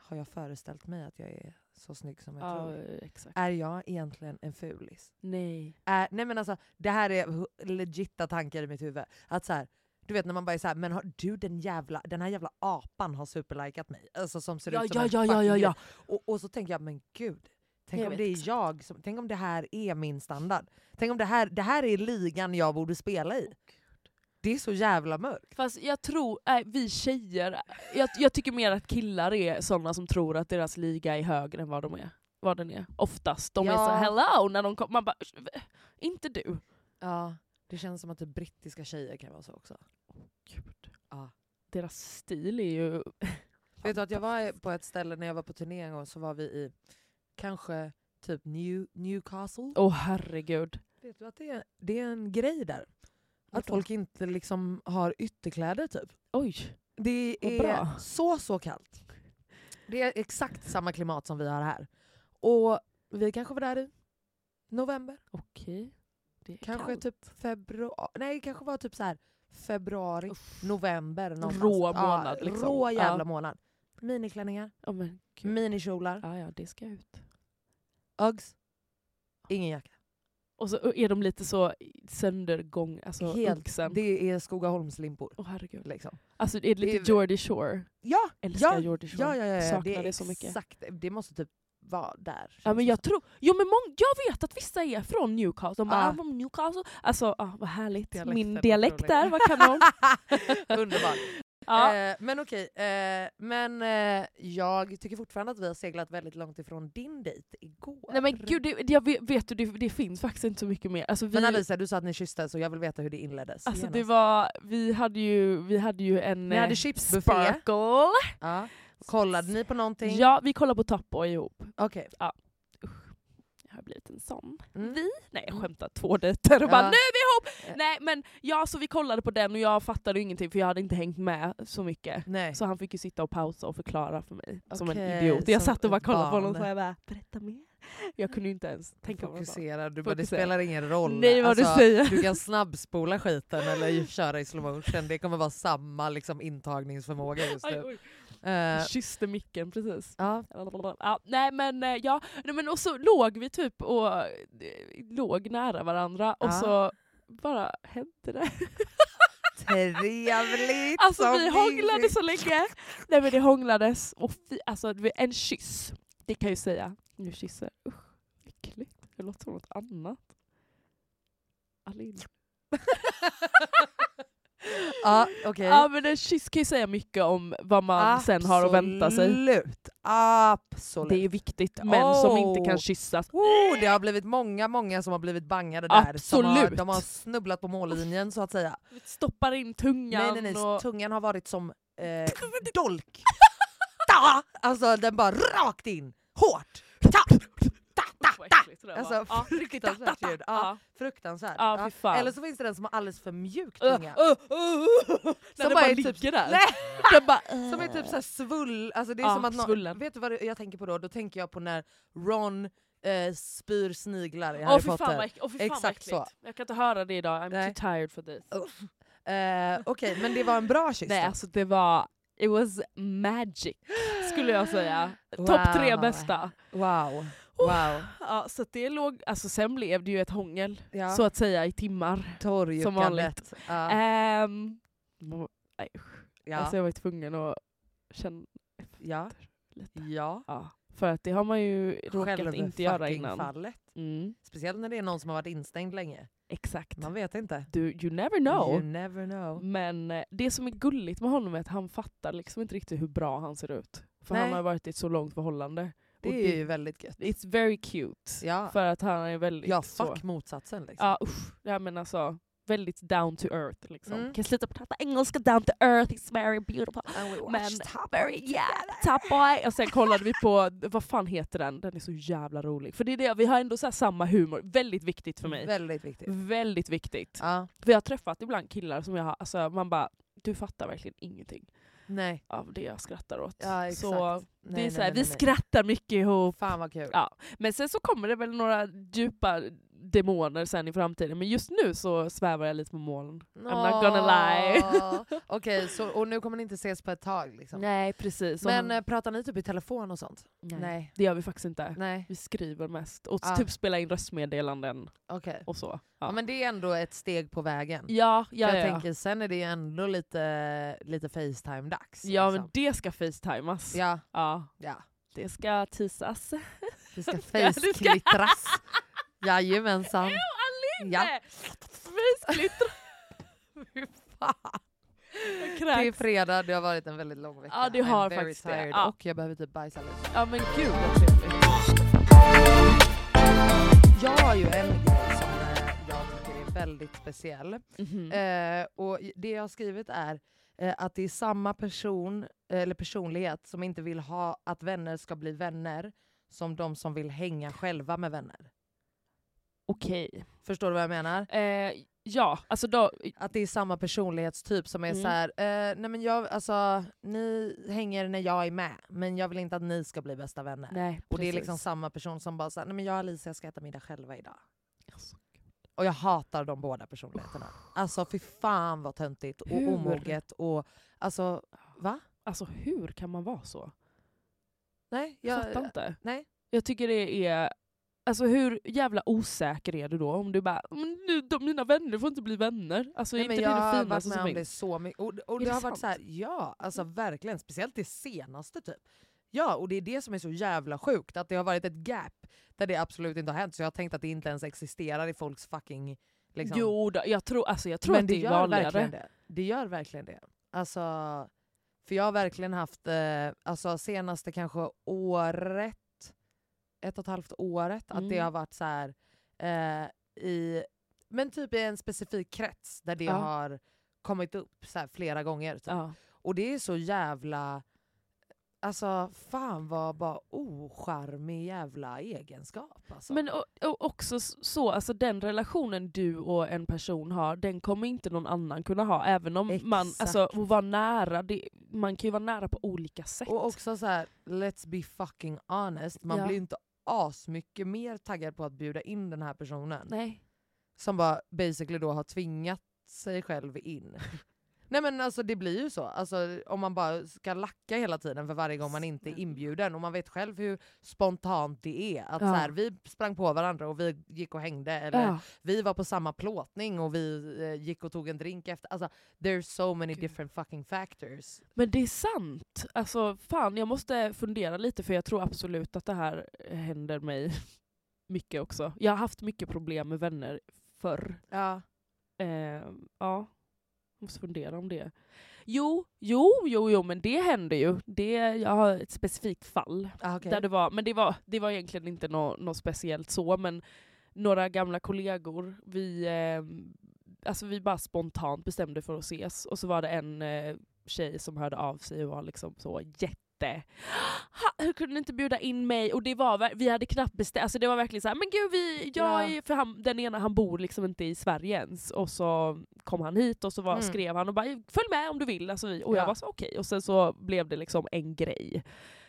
S1: har jag föreställt mig att jag är så snygg som jag
S2: Ja,
S1: tror?
S2: exakt.
S1: Är jag egentligen en fulis?
S2: Nej.
S1: Är, nej men alltså, det här är hu- legitta tankar i mitt huvud. Att så här, du vet när man bara är såhär, men har du den jävla, den här jävla apan har superlikat mig. Alltså som ser
S2: Ja,
S1: ut som
S2: ja,
S1: en
S2: ja, ja, ja,
S1: fucking
S2: ja.
S1: gud. Och, och så tänker jag, men gud. Tänk
S2: Jag
S1: om
S2: vet
S1: det är
S2: exakt.
S1: jag som, tänk om det här är min standard. Tänk om det här, det här är ligan jag borde spela i. Det är så jävla mörkt.
S2: Fast jag tror, nej, vi tjejer, jag, jag tycker mer att killar är sådana som tror att deras liga är högre än vad de är. Vad den är. Oftast. De är
S1: Ja.
S2: så hello när de kommer. Man bara, "Usch, v- inte du.
S1: Ja, det känns som att det brittiska tjejer kan vara så också. Ja.
S2: Deras stil är ju...
S1: Vet du att jag var på ett ställe när jag var på turné en gång så var vi i kanske typ New, Newcastle.
S2: Åh herregud.
S1: Vet du att det är, det är en grej där? Att
S2: Vadå?
S1: folk inte liksom har ytterkläder typ.
S2: Oj.
S1: Det
S2: Vad
S1: är
S2: bra.
S1: så så kallt. Det är exakt samma klimat som vi har här. Och vi kanske var där i november,
S2: Okej. Det är
S1: kanske
S2: kallt.
S1: typ februari, nej kanske var typ så här februari, november någonstans.
S2: Rå månad, liksom.
S1: Rå jävla
S2: Ja.
S1: månad. Miniklänningar,
S2: Ja, men gud.
S1: minikjolar,
S2: Ja, ja, det ska ut.
S1: Uggs, ingen jacka.
S2: Och så är de lite så söndergång, alltså
S1: Helt,
S2: uggsen.
S1: det är Skogaholmslimpor.
S2: Åh herregud.
S1: Liksom.
S2: Alltså det är lite
S1: Det är-
S2: Geordie Shore.
S1: Ja,
S2: Älskar
S1: ja,
S2: Geordie Shore.
S1: Ja, ja, ja, ja.
S2: Saknar
S1: det, är
S2: det så mycket.
S1: Exakt, det måste typ vara där.
S2: Ja,
S1: känns
S2: men
S1: det
S2: jag
S1: som.
S2: tror, jo, men mång, jag vet att vissa är från Newcastle. De bara,
S1: Ja.
S2: ah. från Newcastle. Alltså ah, vad härligt,
S1: Dialekten,
S2: min
S1: otroligt.
S2: dialekt där, vad kanon.
S1: Underbart.
S2: ja.
S1: Eh, men okej, eh, men eh, jag tycker fortfarande att vi har seglat väldigt långt ifrån din dejt igår.
S2: Nej men gud, det, det- jag vet, vet du, det, det finns faktiskt inte så mycket mer. Alltså, vi,
S1: Men Alicia, du sa att ni kysstes och jag vill veta hur det inleddes.
S2: alltså, det
S1: Genast.
S2: var, vi hade ju, vi hade ju en
S1: Ni hade
S2: eh,
S1: chipsbuffé.
S2: sparkle.
S1: Ja. Kollade ni på någonting?
S2: Ja, vi kollade på Top Boy ihop.
S1: Okej.
S2: Jag har blivit en sån.
S1: Mm.
S2: Vi? Nej jag skämtar, två dejter och
S1: Ja.
S2: bara nu är vi
S1: Ja.
S2: ihop! Nej men ja, så vi kollade på den och jag fattade ju ingenting för jag hade inte hängt med så mycket.
S1: Nej.
S2: Så han fick ju sitta och pausa och förklara för mig som en
S1: Okej,
S2: idiot. Jag
S1: som
S2: satt och bara
S1: ett
S2: kollade på
S1: barn.
S2: honom och jag bara “berätta mer”. Jag kunde ju inte ens tänka på vad jag sa.
S1: Fokusera, du bara, det
S2: Fokusera.
S1: spelar ingen roll.
S2: Nej vad
S1: Alltså,
S2: du säger.
S1: Du kan snabbspola skiten eller ju köra i slowmotion. Det kommer vara samma liksom, intagningsförmåga just
S2: Aj,
S1: nu.
S2: oj.
S1: Eh,
S2: Jag Kysste micken precis.
S1: ja.
S2: Ja, nej men eh, ja, nej, men och så låg vi typ och eh, låg nära varandra och
S1: Ja.
S2: så bara hände det.
S1: Trevligt
S2: Alltså
S1: som
S2: vi hånglade
S1: givet.
S2: så länge. Nej men det hånglades. Och fy, alltså det var en kyss. Det kan jag ju säga. Nu kysser. Usch, äckligt. Det låter som något annat. Alin.
S1: Ja, okej.
S2: Ja men en kyss kan ju säga mycket om vad man sen har att vänta sig.
S1: Absolut, absolut.
S2: Det är viktigt. Män som inte kan
S1: Oh.
S2: kyssas.
S1: Oh, det har blivit många, många som har blivit bangade där. Som har,
S2: Absolut.
S1: de har snubblat på mållinjen så att säga.
S2: Stoppar in tungan
S1: Nej, nej, nej.
S2: och...
S1: Tungan har varit som eh, dolk. Ta! Alltså den bara rakt in, hårt. Ta! Ta, ta, ta.
S2: dåligt. sådär
S1: Alltså
S2: bara. Ja.
S1: fruktansvärt
S2: Ta-ta-ta.
S1: ljud. Ja,
S2: Ja.
S1: Fruktansvärt.
S2: Ja, fy fan.
S1: Eller så finns det den som har alldeles för mjuk
S2: Uh, uh,
S1: tunga.
S2: uh, uh.
S1: Som
S2: När den
S1: bara
S2: bara
S1: är typ-
S2: ligger där.
S1: Nej.
S2: Den bara,
S1: Som är typ såhär svull, alltså det är
S2: Ja,
S1: som att nå-
S2: svullen.
S1: Vet du vad det- jag tänker på då? Då tänker jag på när Ron eh, spyr sniglar i
S2: Åh
S1: Harry
S2: fy fan, vad
S1: Potter.
S2: äck- åh, fy fan vad
S1: Exakt
S2: äckligt.
S1: så.
S2: Jag kan inte höra det idag, I'm
S1: Nej.
S2: too tired for this.
S1: Eh, Okej, men det var en bra kyss
S2: Nej
S1: då.
S2: alltså det var, it was magic skulle jag säga. Topp tre
S1: Wow.
S2: bästa.
S1: Wow. Wow.
S2: Ja, så att det låg, alltså sen blev det ju ett hångel
S1: Ja.
S2: så att säga i timmar. som vanligt.
S1: Torrjuckandet. Ja.
S2: Ehm, må- nej, usch.
S1: ja.
S2: Alltså jag var ju tvungen att känna
S1: ja.
S2: lite.
S1: ja.
S2: Ja, för att det har man ju råkat inte göra innan.
S1: Fallet.
S2: Mm,
S1: Speciellt när det är någon som har varit instängd länge.
S2: exakt.
S1: Man vet inte.
S2: Du, you never know.
S1: You never know.
S2: Men eh, det som är gulligt med honom är att han fattar liksom inte riktigt hur bra han ser ut. För han
S1: Nej.
S2: har varit i ett så långt förhållande. Och
S1: Det är ju väldigt gött.
S2: It's very cute.
S1: Ja.
S2: För att han är väldigt
S1: Ja,
S2: så...
S1: fuck motsatsen liksom.
S2: Ja usch, ja, men alltså, väldigt down to earth liksom.
S1: Mm.
S2: Kan jag sluta prata engelska? Down to earth, it's very beautiful.
S1: And we watched
S2: Men-
S1: Top
S2: Very,
S1: Boy
S2: yeah,
S1: together.
S2: top boy. Och sen kollade vi på, vad fan heter den? Den är så jävla rolig. För det är det, vi har ändå så här samma humor, väldigt viktigt för mig.
S1: Väldigt viktigt.
S2: Väldigt viktigt.
S1: Ja.
S2: För jag har träffat ibland killar som jag har, alltså man bara, du fattar verkligen ingenting
S1: Nej.
S2: av det jag skrattar åt.
S1: Ja, exakt.
S2: Så det
S1: Nej,
S2: är
S1: nej,
S2: så här,
S1: nej,
S2: vi
S1: nej, nej.
S2: skrattar mycket ihop.
S1: Fan vad kul.
S2: Ja. Men sen så kommer det väl några djupa demoner sen i framtiden, men just nu så svävar jag lite på moln. I'm not gonna lie.
S1: Nå. Okej, så och nu kommer ni inte ses på ett tag liksom?
S2: Nej precis.
S1: Men eh, pratar ni typ i telefon och sånt?
S2: nej.
S1: nej.
S2: det gör vi faktiskt inte.
S1: Nej,
S2: Vi skriver mest och
S1: Ja.
S2: typ spelar in röstmeddelanden
S1: okej.
S2: och så.
S1: Ja. men det är ändå ett steg på vägen.
S2: ja, ja,
S1: jag
S2: ja.
S1: tänker, sen är det ju ändå lite, lite Facetime-dags.
S2: ja men
S1: liksom.
S2: det ska facetimas.
S1: ja,
S2: Ja,
S1: ja.
S2: det ska tisas.
S1: Det ska
S2: det ska-
S1: face-klittras. Jajamensan.
S2: Jo, Alinde!
S1: Ja.
S2: Fejsglitter.
S1: Fy fan. Det är fredag, det har varit en väldigt lång vecka.
S2: Ja, det har
S1: I'm very
S2: faktiskt det.
S1: tired
S2: Ja.
S1: Och jag behöver typ bajsa lite.
S2: Ja men gud vad trevligt.
S1: Jag har ju en grej som eh, jag tycker är väldigt speciell.
S2: Mm.
S1: Eh, och det jag har skrivit är eh, att det är samma person eh, eller personlighet som inte vill ha att vänner ska bli vänner som de som vill hänga själva med vänner.
S2: Okej.
S1: Förstår du vad jag menar?
S2: Eh, ja, alltså då...
S1: Att det är samma personlighetstyp som är
S2: Mm.
S1: så här, eh, nej men jag, alltså, ni hänger när jag är med men jag vill inte att ni ska bli bästa vänner.
S2: Nej,
S1: och det är
S2: precis.
S1: liksom samma person som bara såhär, nej men jag och Alicia ska äta middag själva idag.
S2: Alltså, gud.
S1: Och jag hatar de båda personligheterna. Alltså fy fan vad töntigt och
S2: Hur?
S1: omoget och alltså, va?
S2: Alltså hur kan man vara så?
S1: Nej,
S2: Jag
S1: jag,
S2: fattar inte.
S1: nej.
S2: Jag tycker det är... Alltså hur jävla osäker är du då om du bara "Men nu, de, mina vänner får inte bli vänner. Alltså
S1: nej
S2: är
S1: men
S2: inte
S1: jag
S2: det det
S1: har varit
S2: finaste
S1: med
S2: som
S1: om det
S2: finns?
S1: så mycket. Och, och
S2: Är
S1: det
S2: det
S1: har
S2: sant?
S1: varit så här, ja alltså verkligen, speciellt det senaste typ. Ja, och det är det som är så jävla sjukt, att det har varit ett gap där det absolut inte har hänt, så jag har tänkt att det inte ens existerar i folks fucking... Liksom.
S2: Jo, då, jag tror, alltså, jag tror
S1: men
S2: att
S1: det,
S2: det är
S1: gör verkligen
S2: vanligare.
S1: det. Det gör verkligen det. Alltså, för jag har verkligen haft, eh, alltså senaste kanske året, ett och ett halvt året, att det
S2: Mm.
S1: har varit så här eh, i, men typ i en specifik krets där det
S2: Ja.
S1: har kommit upp så här flera gånger. Typ.
S2: Ja.
S1: Och det är så jävla, alltså fan vad bara ocharmig jävla egenskap. Alltså.
S2: Men och, och också s- så, alltså den relationen du och en person har, den kommer inte någon annan kunna ha. Även om man, alltså
S1: Exakt.
S2: att vara nära, det, man kan ju vara nära på olika sätt.
S1: Och också så här, let's be fucking honest, man
S2: Ja.
S1: blir inte asmycket mer taggad på att bjuda in den här personen.
S2: Nej.
S1: Som bara basically då har tvingat sig själv in. Nej men alltså det blir ju så, alltså, om man bara ska lacka hela tiden för varje gång man inte är
S2: Snälla.
S1: inbjuden och man vet själv hur spontant det är. Att
S2: Ja.
S1: så här, vi sprang på varandra och vi gick och hängde eller
S2: Ja.
S1: vi var på samma plåtning och vi eh, gick och tog en drink efter. Alltså there's so many
S2: Gud.
S1: different fucking factors.
S2: Men det är sant. Alltså fan, jag måste fundera lite för jag tror absolut att det här händer mig mycket också. Jag har haft mycket problem med vänner förr.
S1: Ja.
S2: Eh, ja, måste fundera om det. Jo, jo, jo, jo, men det händer ju. Det, jag har ett specifikt fall.
S1: Ah, okay.
S2: Där det var, men det var, det var egentligen inte något nå speciellt så, men några gamla kollegor, vi, eh, alltså vi bara spontant bestämde för att ses. Och så var det en eh, tjej som hörde av sig och var liksom så jätte... Ha, hur kunde ni inte bjuda in mig? Och det var, ver- vi hade knappt bestämt, alltså det var verkligen så här, men gud vi, jag
S1: Ja.
S2: är, för han, den ena han bor liksom inte i Sverige ens. Och så kom han hit och så var,
S1: Mm.
S2: skrev han och bara följ med om du vill. Alltså vi, och jag
S1: Ja.
S2: var så okej, och sen så blev det liksom en grej.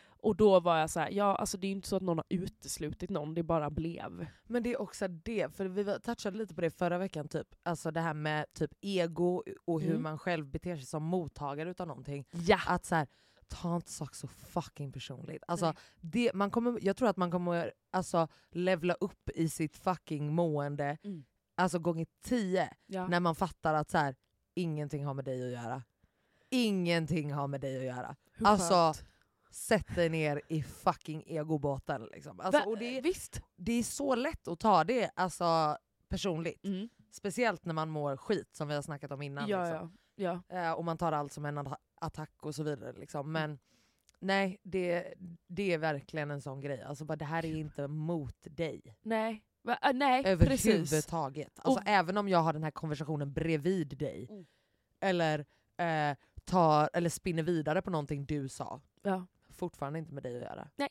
S2: Och då var jag så här, ja alltså det är ju inte så att någon har uteslutit någon, det bara blev.
S1: Men det är också det, för vi var- touchade lite på det förra veckan, typ. Alltså det här med typ ego och hur
S2: Mm. Ah.
S1: man själv beter sig som mottagare utav någonting.
S2: Ja!
S1: Att så här, ta inte saker så fucking personligt. Alltså, det, man kommer, jag tror att man kommer alltså, levla upp i sitt fucking mående
S2: Mm.
S1: alltså gånger tio
S2: ja.
S1: när man fattar att så här, ingenting har med dig att göra. Ingenting har med dig att göra.
S2: Hur
S1: alltså,
S2: skönt.
S1: Sätt dig ner i fucking egobåten. Liksom. Alltså,
S2: Va-
S1: och det,
S2: Visst!
S1: det är så lätt att ta det alltså, personligt.
S2: Mm.
S1: Speciellt när man mår skit som vi har snackat om innan.
S2: ja,
S1: liksom.
S2: ja, ja.
S1: Eh, och man tar allt som en atta- attack och så vidare. Liksom.
S2: Mm.
S1: Men nej, det, det är verkligen en sån grej. Alltså, bara, det här är inte mot dig
S2: Nej, Va? Ah, nej precis.
S1: överhuvudtaget. Alltså,
S2: Och-
S1: Även om jag har den här konversationen bredvid dig.
S2: Mm.
S1: Eller, eh, tar, eller spinner vidare på någonting du sa.
S2: Ja.
S1: Fortfarande inte med dig att göra.
S2: Nej,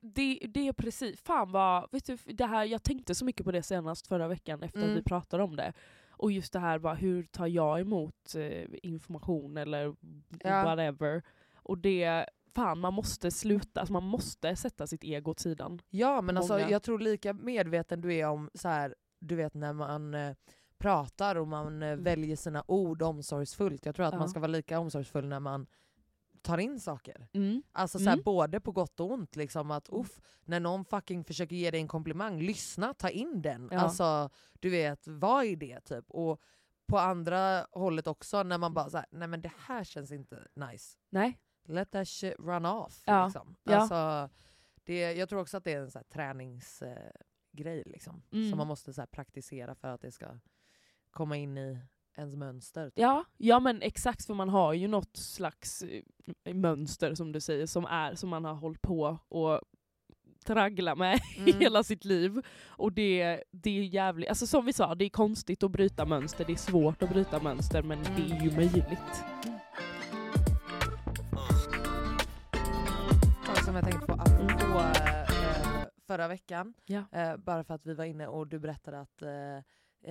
S2: det, det är precis. Fan vad, vet du, det här, jag tänkte så mycket på det senast förra veckan efter
S1: Mm.
S2: att vi pratade om det. Och just det här, bara, hur tar jag emot eh, information eller
S1: Ja.
S2: whatever. Och det, fan man måste sluta, alltså man måste sätta sitt ego åt sidan.
S1: Ja men alltså,
S2: Många.
S1: jag tror lika medveten du är om så här, du vet när man eh, pratar och man eh,
S2: Mm.
S1: väljer sina ord omsorgsfullt. Jag tror att
S2: Ja.
S1: man ska vara lika omsorgsfull när man tar in saker.
S2: Mm.
S1: Alltså så här,
S2: Mm.
S1: både på gott och ont. Liksom, att uff, När någon fucking försöker ge dig en komplimang, lyssna, ta in den.
S2: Ja.
S1: Alltså du vet, vad är det typ? Och på andra hållet också när man bara så här, nej men det här känns inte nice
S2: Nej.
S1: let that shit run off.
S2: Ja,
S1: Liksom.
S2: ja.
S1: Alltså, det, jag tror också att det är en så här träningsgrej liksom,
S2: Mm.
S1: som man måste så här praktisera för att det ska komma in i ens mönster. typ.
S2: Ja, ja men exakt för man har ju något slags eh, mönster som du säger som, är, som man har hållit på och traggla med
S1: Mm.
S2: hela sitt liv. Och det, det är jävligt, alltså som vi sa, det är konstigt att bryta mönster, det är svårt att bryta mönster men det är ju möjligt.
S1: Fan, Som jag tänkte på apropå eh, förra veckan,
S2: Ja.
S1: eh, bara för att vi var inne och du berättade att eh,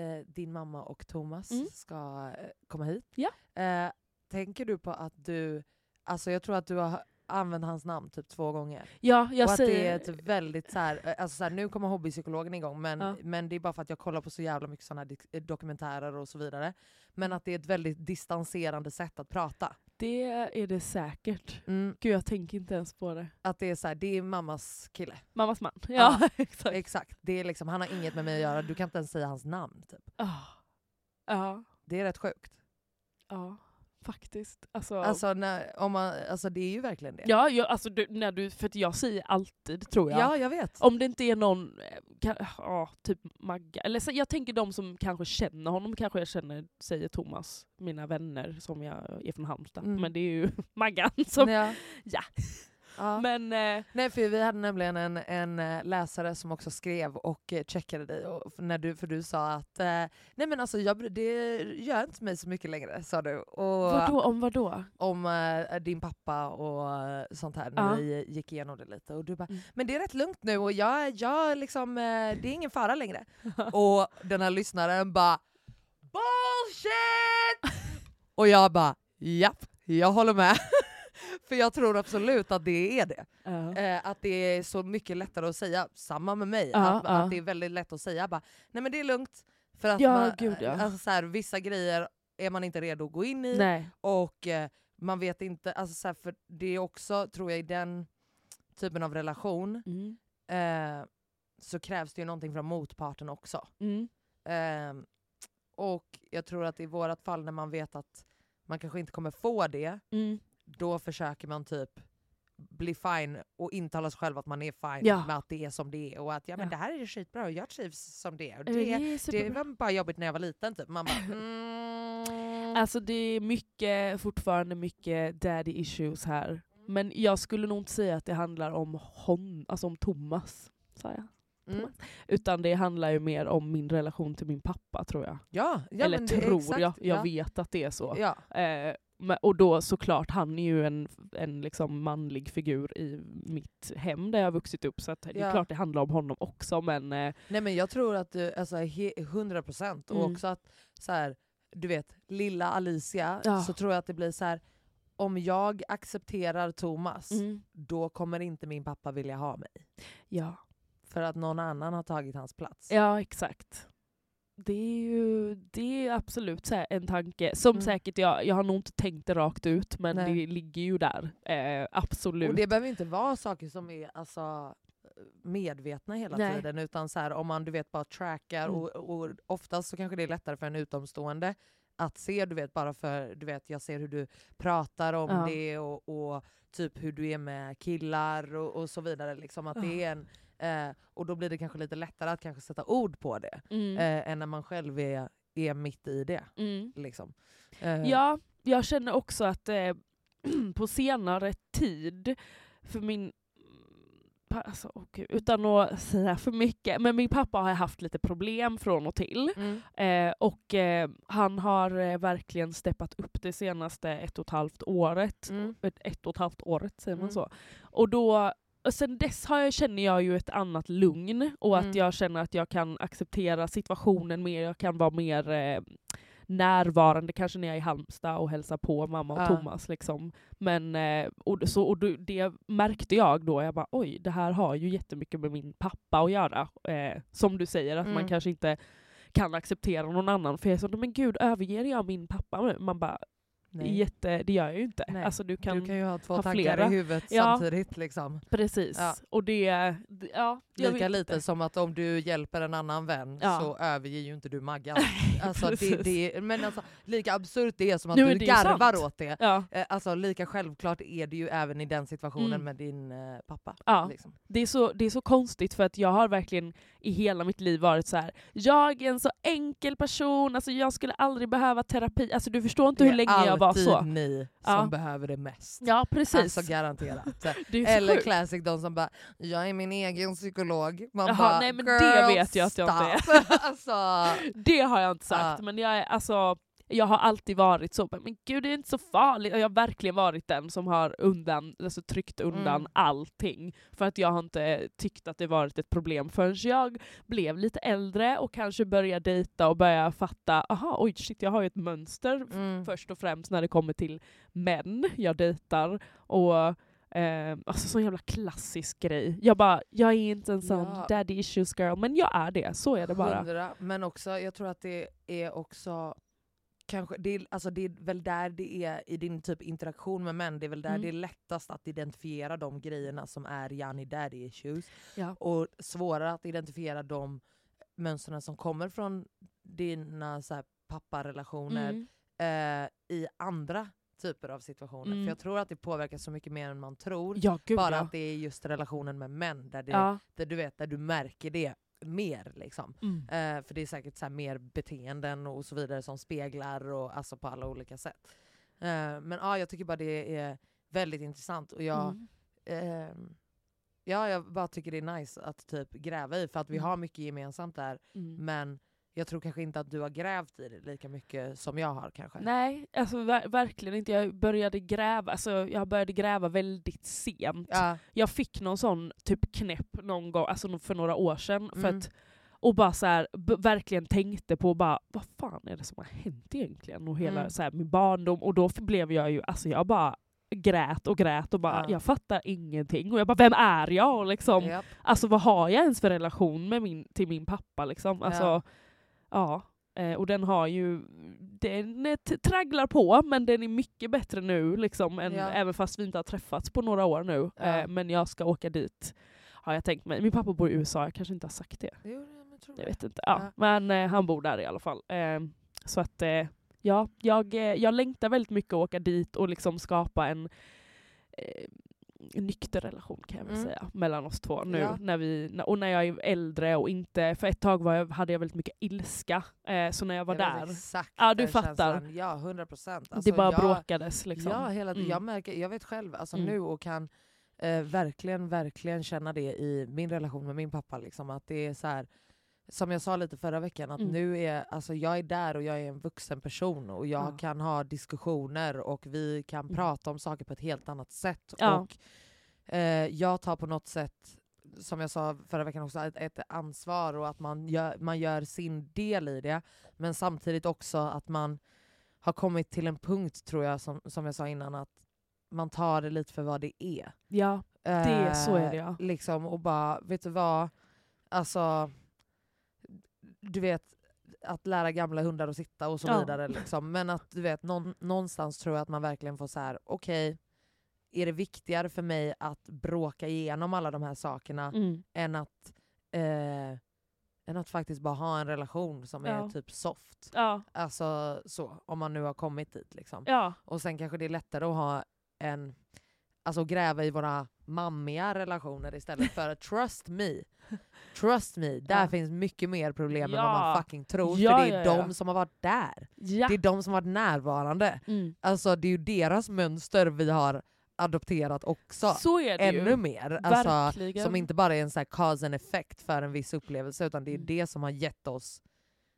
S1: eh, din mamma och Thomas
S2: Mm.
S1: ska eh, komma hit.
S2: Ja.
S1: Eh, tänker du på att du, alltså jag tror att du har använt hans namn typ två gånger.
S2: Ja, jag
S1: och att det är
S2: säger...
S1: typ väldigt så här, eh, alltså så här, nu kommer hobbypsykologen igång men,
S2: Ja.
S1: men det är bara för att jag kollar på så jävla mycket sådana här dik- eh, dokumentärer och så vidare. Men att det är ett väldigt distanserande sätt att prata.
S2: Det är det säkert.
S1: Mm,
S2: Gud jag tänker inte ens på det.
S1: att det är så här, det är mammas kille.
S2: Mammas man. Ja,
S1: Ja.
S2: exakt.
S1: Exakt. Det är liksom, han har inget med mig att göra, du kan inte ens säga hans namn. Typ.
S2: Ah. Ja,
S1: Det är rätt sjukt.
S2: ja, faktiskt. Alltså,
S1: Alltså, när, om man, alltså det är ju verkligen det.
S2: ja, jag, alltså du, när du, för att jag säger alltid tror jag.
S1: Ja, jag vet.
S2: Om det inte är någon, eh, kan, ja, typ Magga, eller så, jag tänker de som kanske känner honom, kanske jag känner, säger Thomas, mina vänner som jag är från Halmstad.
S1: Mm.
S2: Men det är ju Maggan som...
S1: ja.
S2: ja.
S1: Ja.
S2: Men eh,
S1: Nej för vi hade nämligen en, en eh, läsare som också skrev och eh, checkade dig och f- när du, för du sa att eh, nej men alltså jag, bry- det gör inte mig så mycket längre sa du. Och
S2: vadå, om vadå?
S1: Om eh, din pappa och eh, sånt här när
S2: Ja.
S1: vi gick igenom det lite och du bara
S2: Mm.
S1: men det är rätt lugnt nu och jag, jag liksom, eh, det är ingen fara längre. och den här lyssnaren bara bullshit! och jag bara japp, jag håller med. för jag tror absolut att det är det.
S2: Ja.
S1: Eh, att det är så mycket lättare att säga, samma med mig,
S2: Ja,
S1: att,
S2: ja.
S1: att det är väldigt lätt att säga bara nej men det är lugnt. För att
S2: Ja,
S1: man,
S2: gud, ja.
S1: alltså, så här, vissa grejer är man inte redo att gå in i
S2: Nej.
S1: och eh, man vet inte, alltså, så här, för det är också tror jag i den typen av relation
S2: Mm.
S1: eh, så krävs det ju någonting från motparten också.
S2: Mm.
S1: Eh, och jag tror att i vårt fall när man vet att man kanske inte kommer få det,
S2: Mm.
S1: då försöker man typ bli fine och intala sig själv att man är fine
S2: Ja.
S1: med att det är som det är och att ja, men
S2: Ja.
S1: det här är skitbra och jag trivs som det är. Och
S2: Det,
S1: det,
S2: är
S1: det
S2: superbra.
S1: var bara jobbigt när jag var liten typ. Man bara, mm.
S2: Alltså det är mycket, fortfarande mycket daddy issues här. Men jag skulle nog inte säga att det handlar om hon, alltså om Thomas. Sa jag.
S1: mm.
S2: Utan det handlar ju mer om min relation till min pappa tror jag.
S1: Ja, ja
S2: Eller
S1: men det är
S2: tror
S1: exakt,
S2: jag, jag
S1: ja.
S2: vet att det är så.
S1: Ja.
S2: Eh, Men- Och då såklart, han är ju en, en liksom manlig figur i mitt hem där jag har vuxit upp så att det
S1: Ja.
S2: är klart det handlar om honom också men eh,
S1: Nej men jag tror att du, alltså he- 100 procent. Och
S2: Mm.
S1: också att så här, du vet, lilla Alicia,
S2: Ja.
S1: så tror jag att det blir så här. om jag accepterar Thomas,
S2: Mm.
S1: då kommer inte min pappa vilja ha mig.
S2: ja.
S1: För att någon annan har tagit hans plats.
S2: ja exakt. Det är ju det är absolut så här en tanke som
S1: Mm.
S2: säkert jag, jag har nog inte tänkt det rakt ut men
S1: Nej.
S2: det ligger ju där. Eh, absolut.
S1: Och det behöver inte vara saker som är alltså, medvetna hela
S2: Nej.
S1: tiden. Utan så här, om man du vet, bara trackar,
S2: Mm.
S1: och, och oftast så kanske det är lättare för en utomstående att se, du vet, bara för du vet, jag ser hur du pratar om
S2: Ja.
S1: det och, och typ hur du är med killar och, och så vidare. Liksom, att det är en, eh, och då blir det kanske lite lättare att kanske sätta ord på det
S2: Mm.
S1: eh, än när man själv är, är mitt i det.
S2: Mm.
S1: Liksom. Eh,
S2: Ja, jag känner också att eh, på senare tid, för min pa- Alltså, åh gud, utan att säga för mycket, men min pappa har haft lite problem från och till.
S1: Mm.
S2: Eh, och eh, han har eh, verkligen steppat upp det senaste ett och ett halvt året.
S1: Mm.
S2: Ett, ett och ett halvt året, säger man
S1: Mm.
S2: så? Och då, och sen dess har jag, känner jag ju ett annat lugn och att
S1: Mm.
S2: jag känner att jag kan acceptera situationen mer, jag kan vara mer eh, närvarande kanske när jag är i Halmstad och hälsar på mamma och
S1: Ja.
S2: Thomas. Liksom. Men, eh, och, så, och då- det märkte jag då, jag bara oj, det här har ju jättemycket med min pappa att göra. Eh, som du säger, att
S1: Mm.
S2: man kanske inte kan acceptera någon annan. För jag sa, men gud överger jag min pappa nu? Man bara,
S1: Nej.
S2: jätte, det gör jag ju inte.
S1: Nej.
S2: Alltså du kan,
S1: du kan ju ha två
S2: ha
S1: tankar
S2: flera.
S1: i huvudet
S2: Ja.
S1: samtidigt. Liksom.
S2: precis.
S1: Ja.
S2: Och det, det- ja. jag
S1: Lika
S2: vet
S1: lite
S2: inte.
S1: som att om du hjälper en annan vän
S2: Ja.
S1: så överger ju inte du Maggan. Alltså, det,
S2: precis.
S1: det, men alltså, lika absurt det är som att
S2: Nu
S1: du
S2: är det ju
S1: garvar
S2: sant.
S1: åt det,
S2: Ja,
S1: eh, alltså, lika självklart är det ju även i den situationen
S2: Mm.
S1: med din eh, pappa.
S2: ja.
S1: Liksom.
S2: Det, är så, det är så konstigt för att jag har verkligen i hela mitt liv varit så här. jag är en så enkel person, alltså jag skulle aldrig behöva terapi. Alltså du förstår inte
S1: Det
S2: hur
S1: är
S2: länge jag var
S1: alltid
S2: så.
S1: ni
S2: Ja.
S1: som behöver det mest.
S2: Ja precis.
S1: Alltså garanterat.
S2: det är så
S1: Eller
S2: sjukt.
S1: classic de som bara “jag är min egen psykolog”. Man
S2: Jaha,
S1: bara
S2: nej, men det
S1: “girl,
S2: vet jag att jag inte är."
S1: stop." alltså,
S2: Det har jag inte sagt,
S1: Ja.
S2: men jag, är, alltså, jag har alltid varit så. bara, Men gud, det är inte så farligt. Och Jag har verkligen varit den som har undan, alltså, tryckt undan
S1: Mm.
S2: allting. För att jag har inte tyckt att det varit ett problem förrän jag blev lite äldre och kanske började dejta och började fatta, aha, oj shit, jag har ju ett mönster
S1: mm.
S2: först och främst när det kommer till män jag dejtar. Och, eh, alltså sån jävla klassisk grej. Jag bara, jag är inte en sån
S1: Ja.
S2: daddy issues girl, men jag är det. Så är det bara.
S1: Hundra, men också, jag tror att det är också Kanske, det, är, alltså det är väl där det är i din typ interaktion med män, det är väl där
S2: Mm.
S1: det är lättast att identifiera de grejerna som är Janni daddy issues.
S2: Ja.
S1: Och svårare att identifiera de mönstren som kommer från dina så här, papparelationer
S2: Mm.
S1: eh, i andra typer av situationer.
S2: Mm.
S1: För jag tror att det påverkar så mycket mer än man tror.
S2: Ja, gud
S1: bara
S2: ja.
S1: att det är just relationen med män där, det,
S2: ja.
S1: där, du, vet, där du märker det mer. Liksom.
S2: Mm.
S1: Eh, för det är säkert så här mer beteenden och så vidare som speglar och alltså på alla olika sätt. Eh, men ja, jag tycker bara det är väldigt intressant och jag,
S2: Mm.
S1: ehm, ja, jag bara tycker det är nice att typ gräva i för att vi
S2: Mm.
S1: har mycket gemensamt där
S2: Mm.
S1: men jag tror kanske inte att du har grävt i det lika mycket som jag har kanske.
S2: Nej, alltså ver- verkligen inte. Jag började gräva alltså, jag började gräva väldigt sent.
S1: Ja,
S2: Jag fick någon sån typ knäpp någon gång, alltså no- för några år sedan. För
S1: Mm.
S2: att, och bara så här, b- verkligen tänkte på bara, vad fan är det som har hänt egentligen? Och hela
S1: Mm.
S2: så här, min barndom. Och då blev jag ju, alltså jag bara grät och grät och bara
S1: Ja.
S2: jag fattar ingenting. Och jag bara vem är jag? Och liksom,
S1: japp.
S2: Alltså vad har jag ens för relation med min, till min pappa liksom? Alltså,
S1: Ja.
S2: ja. Eh, och den har ju, den eh, t- tragglar på men den är mycket bättre nu liksom, än,
S1: Ja.
S2: även fast vi inte har träffats på några år nu.
S1: Ja.
S2: Eh, men jag ska åka dit har jag tänkt mig. Min pappa bor i USA, jag kanske inte har sagt det.
S1: Jo, men jag tror
S2: Jag
S1: det.
S2: vet inte. Ja.
S1: Ja.
S2: Men eh, han bor där i alla fall. Eh, så att eh, ja, jag, eh, jag längtar väldigt mycket att åka dit och liksom skapa en eh, nykter relation kan jag väl
S1: Mm.
S2: säga mellan oss två nu.
S1: Ja.
S2: När vi, när- och när jag är äldre och inte, för ett tag var jag, hade jag väldigt mycket ilska. Eh, så när jag var
S1: Jag vet
S2: där,
S1: Exakt
S2: Ja, du
S1: den
S2: fattar.
S1: känslan. Ja, 100 procent.
S2: det bara bråkades liksom.
S1: Alltså, Ja, hela,
S2: Mm.
S1: jag, märker, jag vet själv alltså
S2: Mm.
S1: nu och kan eh, verkligen, verkligen känna det i min relation med min pappa. Liksom, att det är så här, som jag sa lite förra veckan, att
S2: Mm.
S1: nu är, alltså jag är där och jag är en vuxen person och jag
S2: Ja.
S1: kan ha diskussioner och vi kan
S2: Mm.
S1: prata om saker på ett helt annat sätt.
S2: Ja.
S1: Och eh, jag tar på något sätt, som jag sa förra veckan också, ett, ett ansvar och att man gör, man gör sin del i det. Men samtidigt också att man har kommit till en punkt, tror jag, som, som jag sa innan, att man tar det lite för vad det är.
S2: Ja, Det-
S1: Eh,
S2: så är det, ja.
S1: Liksom, och bara, vet du vad? Alltså, du vet, att lära gamla hundar att sitta och så
S2: Ja.
S1: vidare. Liksom. Men att du vet, någon, någonstans tror jag att man verkligen får så här: okej, är det viktigare för mig att bråka igenom alla de här sakerna
S2: mm.
S1: än, att, eh, än att faktiskt bara ha en relation som är
S2: Ja.
S1: typ soft?
S2: ja,
S1: Alltså så, om man nu har kommit dit liksom.
S2: ja,
S1: Och sen kanske det är lättare att ha en, alltså gräva i våra mammiga relationer istället för att trust me. Trust me, där
S2: Ja.
S1: finns mycket mer problem än
S2: Ja.
S1: vad man fucking tror.
S2: Ja,
S1: för det är
S2: ja, ja.
S1: de som har varit där.
S2: ja.
S1: Det är de som har varit närvarande.
S2: Mm.
S1: Alltså det är ju deras mönster vi har adopterat också.
S2: Så är det
S1: Ännu
S2: ju.
S1: mer. Alltså,
S2: Verkligen.
S1: som inte bara är en så här cause and effect för en viss upplevelse utan det är
S2: Mm.
S1: det som har gett oss,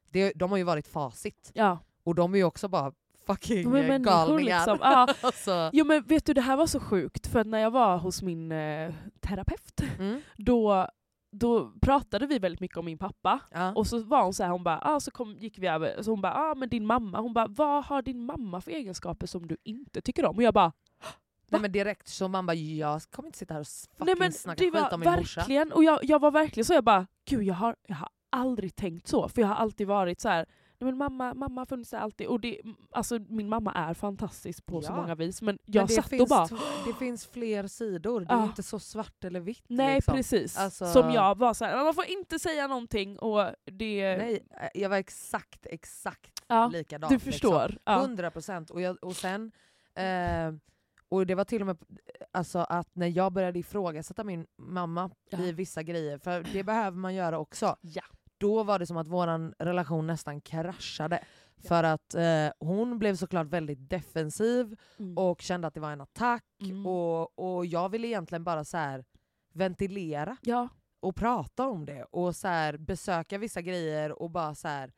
S1: det, de har ju varit facit.
S2: Ja.
S1: Och de är ju också bara fucking
S2: De är
S1: eh,
S2: människor,
S1: galningar.
S2: liksom. Ja.
S1: alltså.
S2: Jo men vet du, det här var så sjukt för att när jag var hos min eh, terapeut
S1: mm.
S2: då, då pratade vi väldigt mycket om min pappa.
S1: ja.
S2: Och så var hon så här, hon bara, ah, så kom, gick vi över, så hon bara, ah, men din mamma, hon bara, vad har din mamma för egenskaper som du inte tycker om? Och jag bara,
S1: Nej, men direkt så man bara jag kommer inte sitta här och s- fucking
S2: nej men
S1: snacka
S2: det
S1: skit
S2: var
S1: om min morsa.
S2: verkligen, och jag, jag var verkligen så, jag bara, gud jag har, jag har aldrig tänkt så, för jag har alltid varit så här. Nej, men mamma, mamma har funnits där alltid, och det, alltså, min mamma är fantastisk på så
S1: Ja.
S2: många vis, men
S1: Men
S2: jag
S1: det
S2: satt och
S1: finns
S2: bara,
S1: t- Det finns fler sidor, det är
S2: Ja.
S1: inte så svart eller vitt.
S2: nej
S1: liksom.
S2: precis.
S1: Alltså-
S2: Som jag var så här, man får inte säga någonting och det...
S1: Nej, eh, jag var exakt, exakt
S2: ja,
S1: likadan.
S2: du förstår.
S1: Liksom.
S2: Ja.
S1: 100 procent. Och, jag- och sen, eh, och det var till och med alltså, att när jag började ifrågasätta min mamma
S2: Ja.
S1: i vissa grejer, för det behöver man göra också.
S2: Ja.
S1: då var det som att vår relation nästan kraschade. För att eh, hon blev såklart väldigt defensiv
S2: Mm.
S1: och kände att det var en attack.
S2: Mm.
S1: Och, och jag ville egentligen bara så här ventilera
S2: ja.
S1: och prata om det och så här besöka vissa grejer och bara så här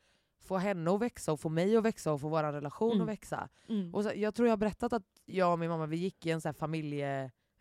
S1: få henne att växa och få mig att växa och få vår relation
S2: Mm.
S1: att växa.
S2: Mm.
S1: Och så, jag tror jag har berättat att jag och min mamma vi gick i en så här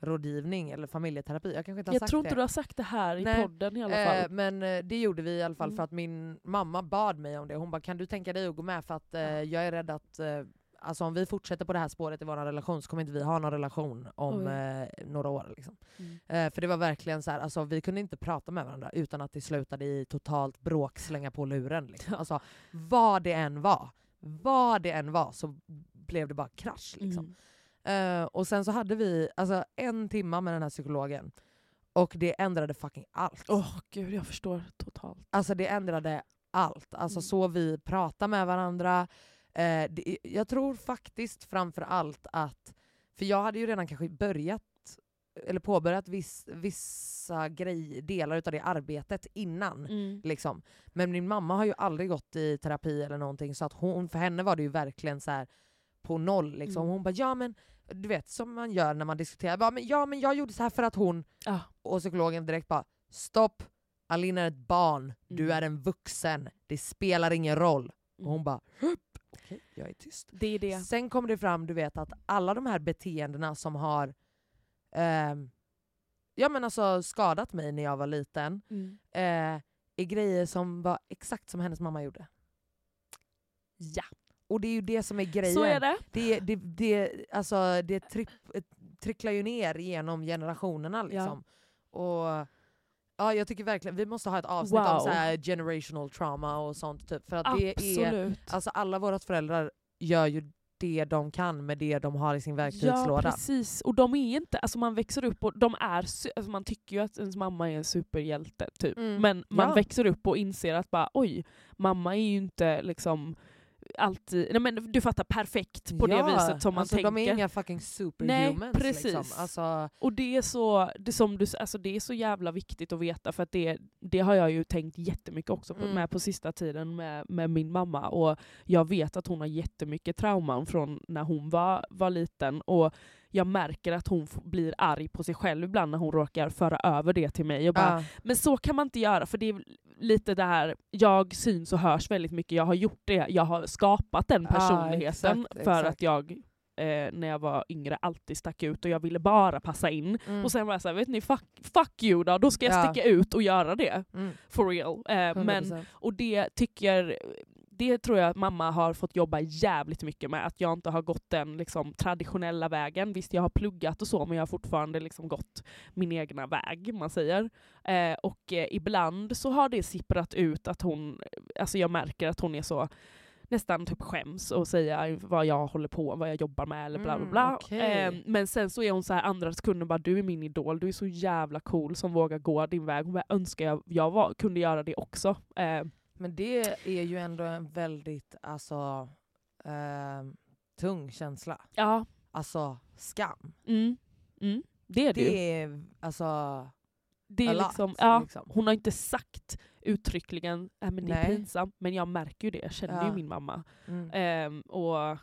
S1: familjerådgivning eller familjeterapi. Jag kanske inte har
S2: Jag
S1: sagt
S2: tror
S1: det.
S2: inte du har sagt det här i
S1: Nej,
S2: podden i alla fall.
S1: Eh, men eh, det gjorde vi i alla fall
S2: Mm.
S1: för att min mamma bad mig om det. Hon bara “kan du tänka dig att gå med för att eh, jag är rädd att eh, alltså, om vi fortsätter på det här spåret i vår relation så kommer inte vi ha någon relation om
S2: Oj.
S1: eh, några år”. Liksom.
S2: Mm.
S1: Eh, för det var verkligen så här, alltså, vi kunde inte prata med varandra utan att det slutade i totalt bråk, slänga på luren. Liksom. Alltså, vad det än var, vad det än var så blev det bara krasch. Liksom.
S2: Mm.
S1: Eh, och sen så hade vi alltså, en timma med den här psykologen och det ändrade fucking allt.
S2: Åh gud, jag förstår totalt.
S1: Alltså det ändrade allt. Alltså
S2: Mm.
S1: så vi pratar med varandra. Eh, det, jag tror faktiskt framför allt att, för jag hade ju redan kanske börjat eller påbörjat viss, vissa grej, delar av det arbetet innan.
S2: Mm.
S1: Liksom. Men min mamma har ju aldrig gått i terapi eller någonting så att hon, för henne var det ju verkligen så här på noll. Liksom.
S2: Mm.
S1: Hon bara ja men du vet som man gör när man diskuterar, bara, men, ja men jag gjorde så här för att hon
S2: Ja.
S1: och psykologen direkt bara stopp, Alina är ett barn, du
S2: Mm.
S1: är en vuxen, det spelar ingen roll. Och hon
S2: Mm.
S1: bara "Hup, okej jag är tyst.
S2: Det är det.
S1: Sen kom det fram du vet att alla de här beteendena som har ehm, ja, men alltså, skadat mig när jag var liten,
S2: Mm.
S1: eh, i grejer som var exakt som hennes mamma gjorde.
S2: Ja,
S1: Och det är ju det som är grejen.
S2: så är det.
S1: Det, det, det, alltså, det tripp, eh, tricklar ju ner genom generationerna. Liksom. Och, ja, jag tycker verkligen vi måste ha ett avsnitt om
S2: Wow.
S1: så här generational trauma och sånt. Typ, för att det är,
S2: Absolut.
S1: alltså, alla våra föräldrar gör ju det de kan med det de har i sin verktygslåda.
S2: Ja precis, och de är inte, alltså man växer upp och de är, su- alltså man tycker ju att ens mamma är en superhjälte typ,
S1: Mm.
S2: men man
S1: Ja.
S2: växer upp och inser att bara oj, mamma är ju inte liksom alltid, nej men du fattar perfekt på
S1: Ja,
S2: det viset som man
S1: alltså,
S2: tänker.
S1: De är inga fucking superhumans. Liksom.
S2: precis.
S1: Alltså,
S2: Och det är, så, det, som du, s- alltså det är så jävla viktigt att veta för att det, det har jag ju tänkt jättemycket också på,
S1: Mm.
S2: med på sista tiden med, med min mamma och jag vet att hon har jättemycket trauman från när hon var, var liten och jag märker att hon f- blir arg på sig själv ibland när hon råkar föra över det till mig och bara
S1: ja.
S2: men så kan man inte göra för det är, lite det här, jag syns och hörs väldigt mycket, jag har gjort det, jag har skapat den
S1: Ah,
S2: personligheten
S1: exakt,
S2: för
S1: exakt.
S2: att jag eh, när jag var yngre alltid stack ut och jag ville bara passa in.
S1: Mm.
S2: Och sen var jag såhär, vet ni fuck, fuck you då, då ska jag
S1: Ja.
S2: sticka ut och göra det.
S1: Mm,
S2: For real. Eh, men,
S1: 100%.
S2: och det tycker det tror jag att mamma har fått jobba jävligt mycket med, att jag inte har gått den liksom, traditionella vägen. Visst, jag har pluggat och så, men jag har fortfarande liksom, gått min egna väg, man säger. Eh, och eh, ibland så har det sipprat ut att hon, alltså jag märker att hon är så nästan typ skäms och säga vad jag håller på vad jag jobbar med eller bla bla
S1: Mm,
S2: bla.
S1: okej.
S2: Ehm, men sen så är hon så här andra sekunder bara du är min idol, du är så jävla cool som vågar gå din väg. Hon bara, önskar jag, jag var, kunde göra det också. Ehm,
S1: Men det är ju ändå en väldigt alltså, ehm, tung känsla.
S2: ja,
S1: Alltså skam.
S2: mm, mm, det är det, ju.
S1: Det är alltså...
S2: Det är
S1: a lot,
S2: liksom, ja,
S1: liksom.
S2: Hon har inte sagt uttryckligen äh, men det är
S1: Nej.
S2: pinsamt, men jag märker ju det, jag känner ju
S1: Ja.
S2: min mamma.
S1: Mm.
S2: Ehm, och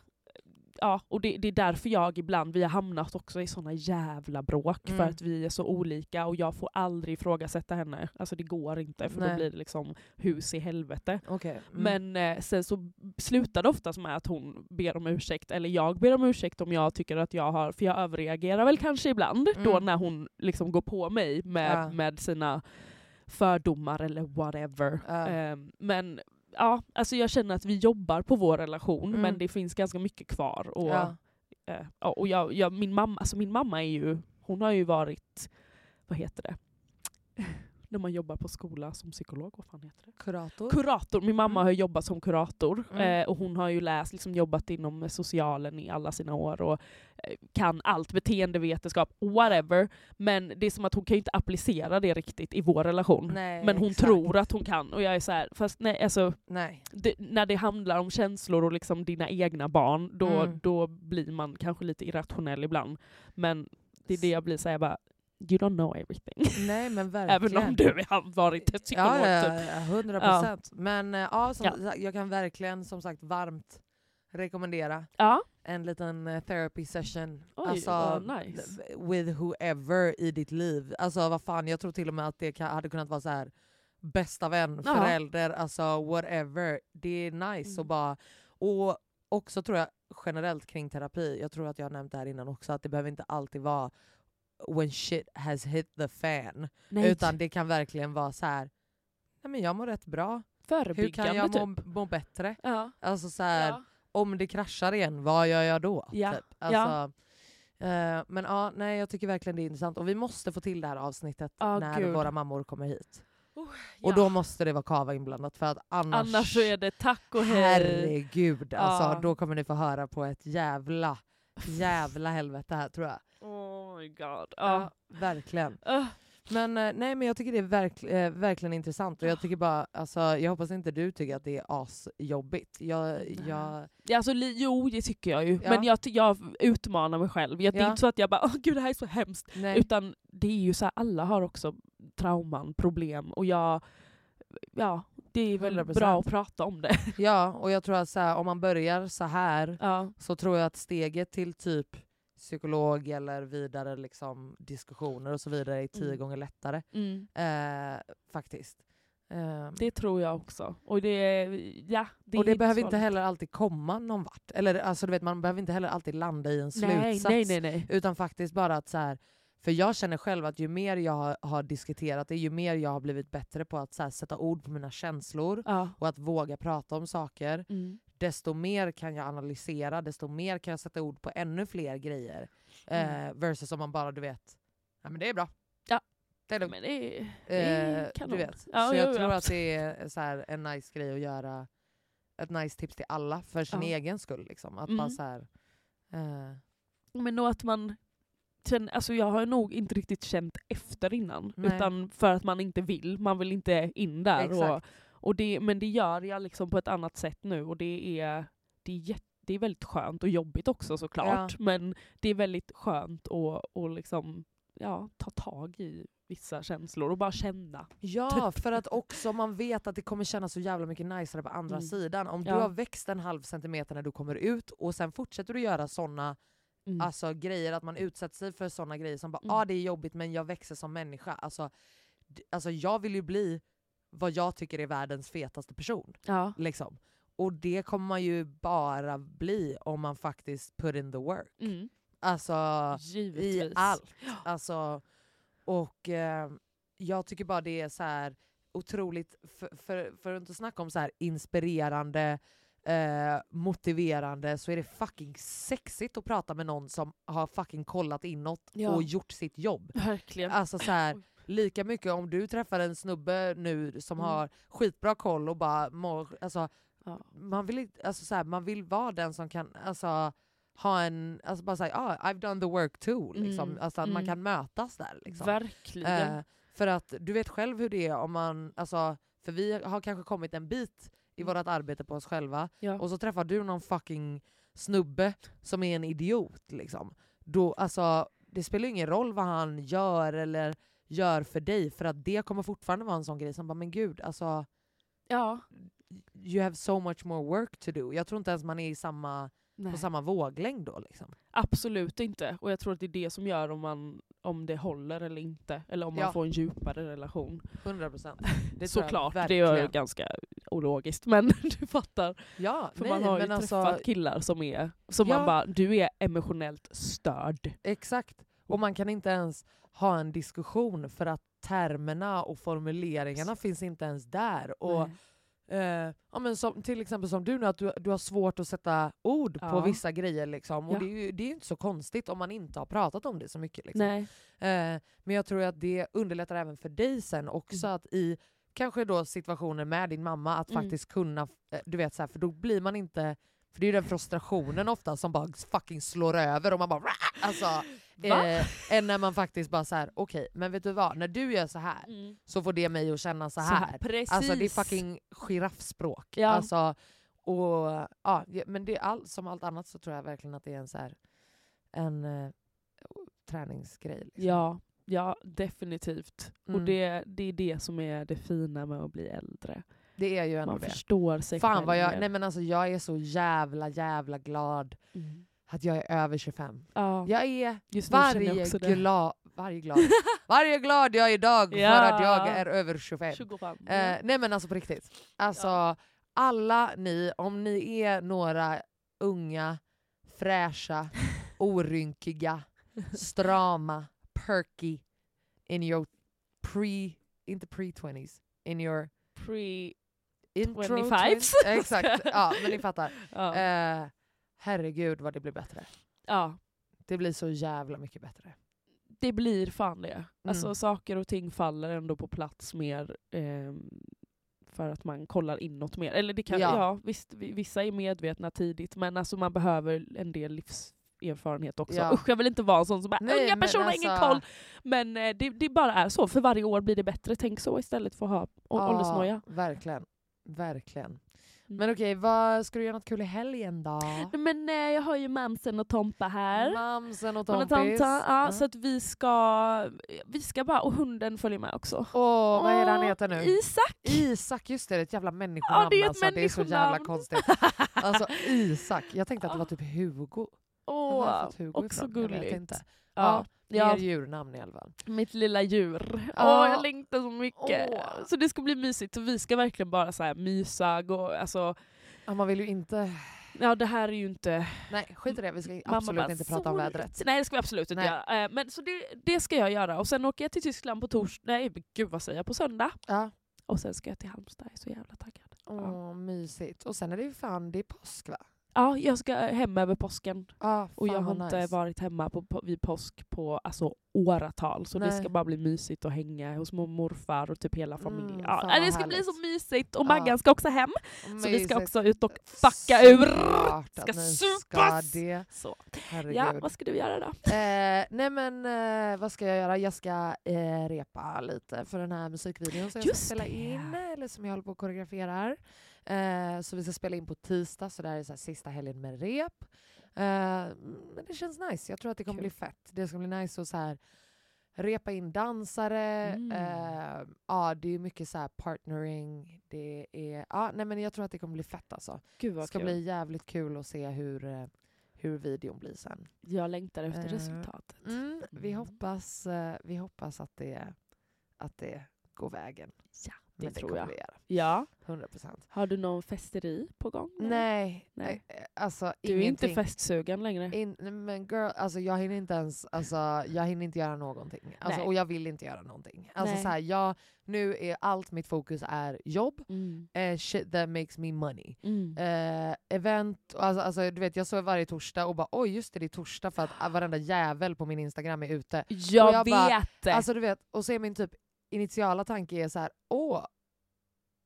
S2: ja, och det, det är därför jag ibland, vi har hamnat också i såna jävla bråk för
S1: Mm.
S2: att vi är så olika och jag får aldrig ifrågasätta henne. Alltså det går inte för då
S1: Nej.
S2: blir det liksom hus i helvete.
S1: Okej. Mm.
S2: Men eh, sen så slutar det oftast med att hon ber om ursäkt, eller jag ber om ursäkt om jag tycker att jag har, för jag överreagerar väl kanske ibland
S1: Mm.
S2: då när hon liksom går på mig med,
S1: Ja.
S2: med sina fördomar eller whatever.
S1: Ja.
S2: Ehm, men ja, alltså jag känner att vi jobbar på vår relation
S1: Mm.
S2: men det finns ganska mycket kvar. Och,
S1: ja.
S2: eh, ja, och jag, jag, min, mamma, alltså min mamma är ju, hon har ju varit, vad heter det? När man jobbar på skola som psykolog, vad fan heter det?
S1: Kurator?
S2: Kurator. Min mamma
S1: Mm.
S2: har ju jobbat som kurator
S1: Mm.
S2: eh, och hon har ju läst, liksom jobbat inom socialen i alla sina år och eh, kan allt, beteendevetenskap, whatever. Men det är som att hon kan ju inte applicera det riktigt i vår relation.
S1: Nej,
S2: Men hon
S1: exakt.
S2: tror att hon kan och jag är så här, fast nej alltså
S1: Nej.
S2: det, när det handlar om känslor och liksom dina egna barn, då,
S1: Mm.
S2: då blir man kanske lite irrationell ibland. Men det är det jag blir såhär, jag bara You don't know everything.
S1: Nej men verkligen.
S2: Även om du har varit psykolog.
S1: Ja,
S2: typ.
S1: ja, ja, 100 procent. Men eh, ja, som,
S2: Ja.
S1: sagt, jag kan verkligen som sagt varmt rekommendera
S2: ja.
S1: en liten eh, therapy session. Alltså,
S2: Oj, vad nice.
S1: With whoever i ditt liv. Alltså vad fan, jag tror till och med att det kan, hade kunnat vara så här bästa vän,
S2: Ja.
S1: förälder, alltså whatever. Det är nice
S2: Mm.
S1: och bara... Och också tror jag generellt kring terapi, jag tror att jag har nämnt det här innan också, att det behöver inte alltid vara when shit has hit the fan.
S2: Nej,
S1: Utan det kan verkligen vara så här. Nej, men jag mår rätt bra. Hur
S2: förebyggande
S1: kan jag må,
S2: typ.
S1: må bättre?
S2: Ja.
S1: Alltså så här, om det kraschar igen, vad gör jag då?
S2: Ja,
S1: Typ. Alltså, eh, men ja, nej, jag tycker verkligen det är intressant. Och vi måste få till det här avsnittet
S2: Ja,
S1: när
S2: gud.
S1: våra mammor kommer hit.
S2: ja.
S1: Och då måste det vara kava inblandat för att annars...
S2: Annars så är det tack och hej.
S1: Herregud,
S2: Ja.
S1: alltså, då kommer ni få höra på ett jävla, jävla helvete här tror jag.
S2: Oh my god. Ja.
S1: verkligen.
S2: Öh,
S1: Men, eh, nej, men jag tycker det är verk, eh, verkligen intressant och jag tycker bara, alltså, jag hoppas inte du tycker att det är asjobbigt. Jag, jag,
S2: Ja, alltså, li- jo, det tycker jag ju.
S1: Ja.
S2: Men jag, ty- jag utmanar mig själv. Jag, Det är
S1: Ja.
S2: inte så att jag bara åh gud det här är så hemskt.
S1: nej.
S2: Utan det är ju så här, alla har också trauman, problem och jag... Ja, det är väl
S1: 100%.
S2: bra att prata om det.
S1: Ja, och jag tror att så här, om man börjar så här
S2: Ja,
S1: så tror jag att steget till typ psykolog eller vidare liksom, diskussioner och så vidare är tio
S2: Mm.
S1: gånger lättare.
S2: mm.
S1: Eh, faktiskt. Eh,
S2: Det tror jag också. Och det, ja, det
S1: och
S2: är
S1: det behöver
S2: så
S1: inte
S2: lätt.
S1: heller alltid komma någon vart. Eller, alltså, du vet, man behöver inte heller alltid landa i en
S2: Nej,
S1: slutsats.
S2: nej, nej. nej.
S1: Utan faktiskt bara att så här, för jag känner själv att ju mer jag har, har diskuterat det, ju mer jag har blivit bättre på att så här, sätta ord på mina känslor
S2: Ja.
S1: och att våga prata om saker,
S2: Mm.
S1: desto mer kan jag analysera, desto mer kan jag sätta ord på ännu fler grejer. Eh,
S2: Mm.
S1: versus om man bara, du vet, ja men det är bra.
S2: Ja.
S1: Det är
S2: Men
S1: lugnt.
S2: det är, det
S1: Eh,
S2: är kanon.
S1: du vet.
S2: Ja,
S1: så
S2: jo,
S1: jag
S2: jo,
S1: tror att
S2: absolut.
S1: det är så här, en nice grej att göra, ett nice tips till alla för sin
S2: Ja.
S1: egen skull. Liksom. Att
S2: Mm.
S1: bara så här, eh,
S2: Men nog att man... Känner, alltså jag har nog inte riktigt känt efter innan.
S1: Nej.
S2: Utan för att man inte vill. Man vill inte in där. Och,
S1: exakt.
S2: Och det, men det gör jag liksom på ett annat sätt nu och det är, det är, jätte, det är väldigt skönt och jobbigt också såklart. Men det är väldigt skönt att och liksom, ja, ta tag i vissa känslor och bara känna.
S1: Ja,
S2: Typ.
S1: för att också man vet att det kommer kännas så jävla mycket najsare på andra
S2: Mm.
S1: sidan. Om
S2: Ja.
S1: du har växt en halv centimeter när du kommer ut och sen fortsätter du göra såna
S2: Mm.
S1: alltså, grejer, att man utsätter sig för såna grejer som bara
S2: Mm.
S1: ah, det är jobbigt men jag växer som människa. Alltså, d- alltså jag vill ju bli vad jag tycker är världens fetaste person.
S2: Ja.
S1: Liksom. Och det kommer man ju bara bli om man faktiskt put in the work.
S2: Mm.
S1: Alltså
S2: Givetvis.
S1: i allt. Alltså, och eh, jag tycker bara det är så här otroligt, för, för, för att inte snacka om så här inspirerande, eh, motiverande, så är det fucking sexigt att prata med någon som har fucking kollat inåt
S2: Ja.
S1: och gjort sitt jobb.
S2: Verkligen.
S1: Alltså så här,
S2: Oj.
S1: lika mycket om du träffar en snubbe nu som
S2: Mm.
S1: har skitbra koll och bara mår, alltså,
S2: Ja.
S1: man vill, inte- alltså så här, man vill vara den som kan alltså, ha en, alltså bara säga ah, I've done the work too. Liksom.
S2: Mm,
S1: Alltså att man
S2: mm.
S1: kan mötas där. Liksom.
S2: Verkligen.
S1: Eh, för att du vet själv hur det är om man, alltså, för vi har kanske kommit en bit i
S2: Mm.
S1: vårt arbete på oss själva
S2: ja.
S1: och så träffar du någon fucking snubbe som är en idiot. Liksom. Då, alltså, det spelar ju ingen roll vad han gör eller gör för dig för att det kommer fortfarande vara en sån grej som bara men gud alltså
S2: ja.
S1: you have so much more work to do. Jag tror inte ens man är i samma, på
S2: Nej.
S1: samma våglängd då. Liksom.
S2: Absolut inte. Och jag tror att det är det som gör om, man, om det håller eller inte. Eller om man
S1: Ja.
S2: får en djupare relation.
S1: 100 procent.
S2: Såklart, det är ju ganska ologiskt. Men du fattar.
S1: Ja,
S2: För
S1: nej,
S2: man har ju
S1: men
S2: träffat
S1: alltså,
S2: killar som är som
S1: Ja.
S2: man bara, du är emotionellt störd.
S1: Exakt. Och man kan inte ens ha en diskussion för att termerna och formuleringarna finns inte ens där. Och,
S2: Nej.
S1: eh, ja, men som, till exempel som du nu, att du, du har svårt att sätta ord på
S2: Ja.
S1: vissa grejer. Liksom. Och
S2: Ja.
S1: det, är ju, det är ju inte så konstigt om man inte har pratat om det så mycket. Liksom.
S2: Nej.
S1: Eh, men jag tror att det underlättar även för dig sen också
S2: Mm.
S1: att i kanske då situationer med din mamma att
S2: Mm.
S1: faktiskt kunna, eh, du vet så här, för då blir man inte för det är ju den frustrationen ofta som bara fucking slår över och man bara "Rah!" alltså,
S2: Va?
S1: eh, än när man faktiskt bara så här: okej men vet du vad, när du gör så här
S2: Mm.
S1: så får det mig att känna så
S2: Så
S1: här.
S2: Precis.
S1: Alltså det är fucking giraffspråk.
S2: Ja.
S1: Alltså, och, ja, ja, men det är all, som allt annat så tror jag verkligen att det är en, så här, en eh, träningsgrej. Liksom.
S2: Ja, ja definitivt.
S1: Mm.
S2: Och det, det är det som är det fina med att bli äldre.
S1: Det är ju ändå
S2: Man
S1: det.
S2: förstår sig
S1: Fan
S2: själv
S1: vad jag,
S2: mer.
S1: nej men alltså jag är så jävla jävla glad
S2: Mm.
S1: att jag är över 25.
S2: Ja,
S1: Jag är
S2: just nu känner jag
S1: varje
S2: också det.
S1: glad, varje glad, varje glad jag är idag för
S2: Ja.
S1: att jag är över 25.
S2: 25.
S1: Eh, nej men alltså på riktigt. Alltså
S2: Ja.
S1: alla ni, om ni är några unga, fräscha, orynkiga, strama, perky in your pre, inte pre-20s, in your
S2: Pre...
S1: intro
S2: 25s.
S1: twen- Exakt, ja men ni fattar.
S2: Ja.
S1: Eh, herregud vad det blir bättre.
S2: ja.
S1: Det blir så jävla mycket bättre.
S2: Det blir fan det. Alltså
S1: Mm.
S2: saker och ting faller ändå på plats mer ehm, för att man kollar inåt mer. Eller det kan,
S1: Ja.
S2: ja. visst, vi- vissa är medvetna tidigt men alltså man behöver en del livserfarenhet också.
S1: Ja,
S2: Usch jag vill inte vara en sån som bara
S1: Nej,
S2: “unga
S1: men
S2: personer har ingen
S1: alltså-
S2: koll”. Men eh, det, det bara är så, för varje år blir det bättre. Tänk så istället för att ha å-
S1: Ja,
S2: åldersnoja.
S1: Verkligen. Verkligen.
S2: Mm.
S1: Men okej, vad ska du göra något kul i helgen då?
S2: Nej, Men eh, jag har ju mamsen och Tompa här.
S1: Mamsen och
S2: Man och
S1: Tompis.
S2: Tanta, ja,
S1: Mm.
S2: Så att vi ska, vi ska bara, och hunden följer med också.
S1: Åh, vad är det han
S2: Åh,
S1: heter nu?
S2: Isak!
S1: Isak, just det, det är ett jävla människonamn
S2: Ja, det är ett
S1: alltså. Det är så jävla
S2: människonamn.
S1: konstigt. Alltså Isak, jag tänkte att det var typ Hugo. Var har jag
S2: Åh,
S1: fått Hugo
S2: också
S1: ifrån? Jag vet
S2: gulligt.
S1: inte. Ja,
S2: Ja,
S1: mer
S2: ja,
S1: djurnamn i alla fall.
S2: mitt lilla djur. Åh,
S1: Ja.
S2: jag längtar så mycket.
S1: Åh.
S2: Så det ska bli mysigt. Så vi ska verkligen bara så här mysa, gå, alltså,
S1: Ja, man vill ju inte...
S2: ja det här är ju inte...
S1: Nej, skit i det. Vi ska
S2: mamma
S1: absolut
S2: bara,
S1: inte prata
S2: "Sol."
S1: om vädret.
S2: Nej det ska vi absolut inte
S1: Nej.
S2: göra. Eh, Men så det, det ska jag göra. Och sen åker jag till Tyskland på torsdag, nej men gud vad säger jag, på söndag.
S1: Ja.
S2: Och sen ska jag till Halmstad, jag är så jävla taggad.
S1: Åh, mysigt. Och sen är det ju fan, det är påsk va?
S2: Ja, jag ska hem över påsken.
S1: Ja,
S2: Och jag
S1: fan
S2: har
S1: vad
S2: inte varit hemma på, på, vid påsk på alltså, åratal. Så det
S1: Nej.
S2: ska bara bli mysigt att hänga hos mormor och morfar och typ hela familjen.
S1: Mm,
S2: ja,
S1: fan
S2: nej,
S1: vad
S2: det ska bli
S1: härligt.
S2: så mysigt. Och
S1: Ja.
S2: Maggan ska också hem. Så vi ska
S1: Mysigt.
S2: också ut och fucka ur.
S1: Såklart att
S2: Ska
S1: ni
S2: supas.
S1: Ska det.
S2: Så.
S1: Herregud.
S2: Ja, vad ska du göra då?
S1: Eh, nej men eh, vad ska jag göra? Jag ska eh, repa lite för den här musikvideon som jag
S2: Just
S1: ska spela
S2: det.
S1: in, eh, eller som jag håller på och koreograferar. Eh, så vi ska spela in på tisdag, så det här är så här, sista helgen med rep. Eh, men det känns nice, jag tror att det kommer
S2: Kul.
S1: bli fett. Det ska bli nice att så här, repa in dansare,
S2: Mm.
S1: eh, ja, det är mycket så här partnering. Det är, ja, nej, men jag tror att det kommer bli fett alltså.
S2: Gud
S1: Det
S2: vad
S1: ska
S2: kul.
S1: bli jävligt kul att se hur, eh, hur videon blir sen.
S2: Jag längtar efter
S1: Eh,
S2: resultatet.
S1: Mm, vi,
S2: Mm.
S1: hoppas, eh, vi hoppas att det, att det går vägen.
S2: Ja. Det
S1: Men det
S2: tror
S1: kommer
S2: jag.
S1: vi göra.
S2: Ja.
S1: 100 procent.
S2: Har du någon festeri på gång? eller?
S1: Nej,
S2: Mm. Nej.
S1: eh, alltså
S2: Du är
S1: ingenting.
S2: inte festsugen längre.
S1: In, nej, men girl, alltså jag hinner inte ens, alltså jag hinner inte göra någonting. Alltså,
S2: Nej.
S1: och jag vill inte göra någonting. Alltså
S2: Nej.
S1: så här, jag, nu är allt mitt fokus är jobb,
S2: Mm.
S1: eh, shit that makes me money.
S2: Mm.
S1: Eh, event, och alltså, alltså du vet jag sover varje torsdag och bara oj just det det är torsdag för att ah, varenda jävel på min instagram är ute.
S2: Jag,
S1: jag bara,
S2: vet det!
S1: Alltså du vet, och så är min typ initiala tanke är så här: åh,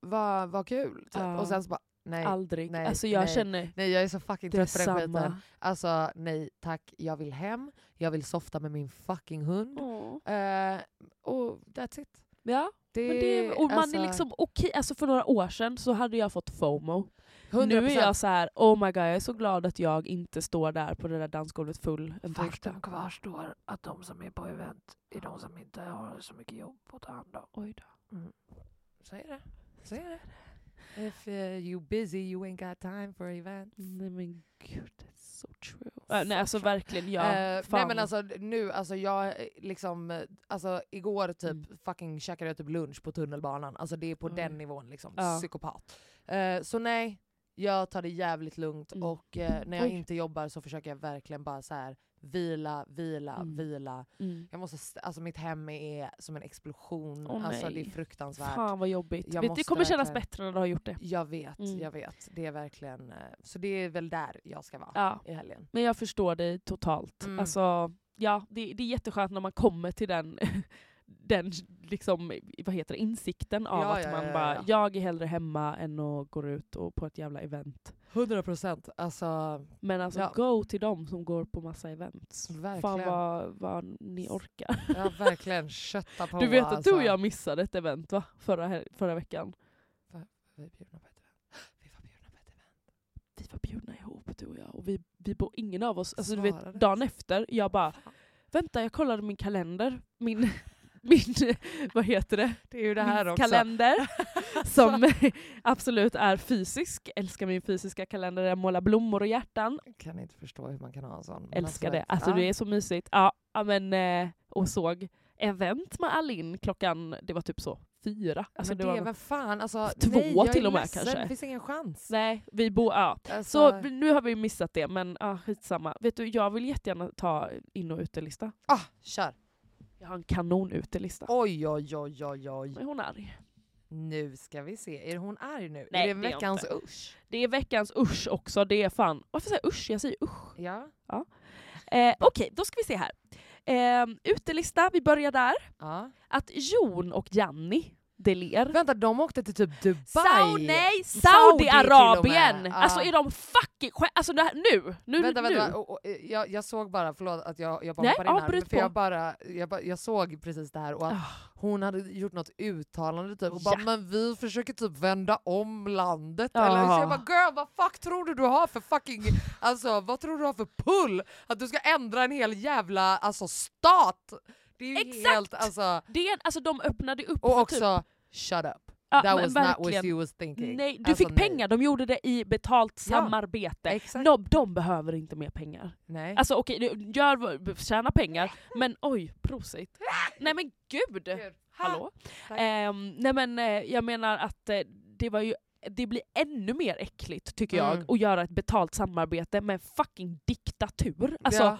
S1: vad, vad kul. Typ.
S2: Ja.
S1: Och sen så bara nej.
S2: Aldrig.
S1: nej,
S2: alltså jag
S1: nej.
S2: känner
S1: Nej jag är så fucking trött på den skiten.
S2: detsamma.
S1: Alltså nej tack, jag vill hem, jag vill softa med min fucking hund.
S2: Åh.
S1: Eh, och that's it.
S2: Ja, Mm. men det, och man
S1: alltså,
S2: är liksom okej, alltså för några år sedan så hade jag fått FOMO.
S1: 100%.
S2: Nu är jag så här, oh my god, jag är så glad att jag inte står där på det där dansgolvet full en torsdag.
S1: kvarstår att de som är på event är de som inte har så mycket jobb att ta hand om.
S2: Oj då.
S1: Så är det. Så är det. If uh, you busy you ain't got time for events.
S2: Nej men gud, det är så true.
S1: Så
S2: Äh, nej alltså verkligen, ja.
S1: Eh, nej
S2: fan.
S1: men alltså nu, alltså jag eh, liksom, eh, alltså igår typ
S2: Mm.
S1: fucking käkade jag typ lunch på tunnelbanan. Alltså det är på
S2: Oj.
S1: den nivån liksom,
S2: Ja.
S1: psykopat. Eh, så nej, jag tar det jävligt lugnt
S2: Mm.
S1: och eh, när jag
S2: Oj.
S1: inte jobbar så försöker jag verkligen bara så här vila, vila,
S2: Mm.
S1: vila.
S2: Mm.
S1: Jag måste, st- alltså mitt hem är som en explosion,
S2: Åh,
S1: alltså det
S2: nej.
S1: är fruktansvärt.
S2: Fan vad jobbigt.
S1: Jag
S2: Vet,
S1: måste
S2: det kommer kännas
S1: verkligen-
S2: bättre när du har gjort det.
S1: Jag vet,
S2: Mm.
S1: jag vet. Det är verkligen, eh, så det är väl där jag ska vara
S2: Ja.
S1: i helgen.
S2: Men jag förstår dig totalt.
S1: Mm.
S2: Alltså, ja, det, det är jätteskönt när man kommer till den, den liksom, vad heter det, insikten av
S1: Ja,
S2: att
S1: ja,
S2: man
S1: ja,
S2: bara,
S1: ja.
S2: jag är hellre hemma än att gå ut och på ett jävla event.
S1: 100 procent. Alltså,
S2: Men alltså
S1: Ja.
S2: go till dem som går på massa events. Fan
S1: Verkligen.
S2: vad, vad ni orkar.
S1: jag har verkligen kötta på.
S2: Du vet att
S1: alltså.
S2: du och jag missade ett event va? Förra, hel- förra veckan.
S1: Vi är bjudna på ett event. Vi var bjudna på ett event.
S2: Vi var bjudna ihop du och jag och vi, vi bo, ingen av oss, alltså du vet
S1: Svarade.
S2: dagen efter, jag bara vänta jag kollade min kalender, min, min vad heter det?
S1: Det är ju det
S2: min
S1: här också.
S2: kalender som absolut är fysisk. Älskar min fysiska kalender, jag målar blommor och hjärtan.
S1: Jag kan inte förstå hur man kan ha en sån. men
S2: Älskar det.
S1: vet-
S2: Alltså
S1: ja.
S2: det är så mysigt. Ja, ja men, eh, och såg event med Alin klockan, det var typ så fyra. Alltså,
S1: men
S2: det
S1: det,
S2: var
S1: är väl fan alltså.
S2: Två
S1: nej, jag är
S2: till och med,
S1: ledsen.
S2: kanske.
S1: Det finns ingen chans.
S2: Nej, vi bor... Ja.
S1: Alltså,
S2: Så nu har vi missat det, men ja, skitsamma. Vet du, jag vill jättegärna ta in och utelista.
S1: ah, kör.
S2: Jag har en kanon utelista.
S1: Oj, oj, oj, oj, oj.
S2: Är hon arg?
S1: Nu ska vi se. Är hon arg nu?
S2: Nej,
S1: är det
S2: det är jag
S1: veckans
S2: inte.
S1: usch?
S2: Det är veckans usch också, det är fan... Varför säger jag usch? Jag säger usch.
S1: Ja.
S2: Eh, Okej, då ska vi se här. Eh, utelista, vi börjar där.
S1: ja.
S2: Att Jon och Janni, det ler.
S1: Vänta, de åkte till typ Dubai.
S2: Sau, nej,
S1: Saudi till och med.
S2: Saudiarabien!
S1: Ja.
S2: Alltså är de fucking skä- Alltså det här, nu! nu
S1: vänta,
S2: nu.
S1: vänta. Och, och, jag, jag såg bara, förlåt att jag, jag bara
S2: Nej,
S1: hoppar in
S2: ja,
S1: här,
S2: bryt
S1: men för jag,
S2: på.
S1: bara, jag, bara, jag såg precis det här och att
S2: Ah.
S1: hon hade gjort något uttalande typ och bara
S2: Ja.
S1: “men vi försöker typ vända om landet”
S2: Ja.
S1: eller så jag bara “girl vad fuck tror du du har för fucking, alltså vad tror du har för pull? Att du ska ändra en hel jävla alltså stat?” Det är ju
S2: Exakt!
S1: helt alltså,
S2: Det är, alltså de öppnade upp
S1: och
S2: för typ-
S1: också “shut up,
S2: Ja,
S1: that
S2: men
S1: was not
S2: verkligen.
S1: what you was thinking”.
S2: Nej, du
S1: Alltså,
S2: fick
S1: nej.
S2: pengar, de gjorde det i betalt
S1: Ja,
S2: samarbete.
S1: Exakt.
S2: No, de behöver inte mer pengar.
S1: Nej.
S2: Alltså okej, du gör, vad- tjäna pengar, men oj, prosit. Nej men gud!
S1: Gud. Ha!
S2: Hallå?
S1: Tack.
S2: Ehm, nej men eh, jag menar att eh, det var ju det blir ännu mer äckligt tycker jag
S1: Mm.
S2: att göra ett betalt samarbete med en fucking diktatur. Alltså,
S1: Ja.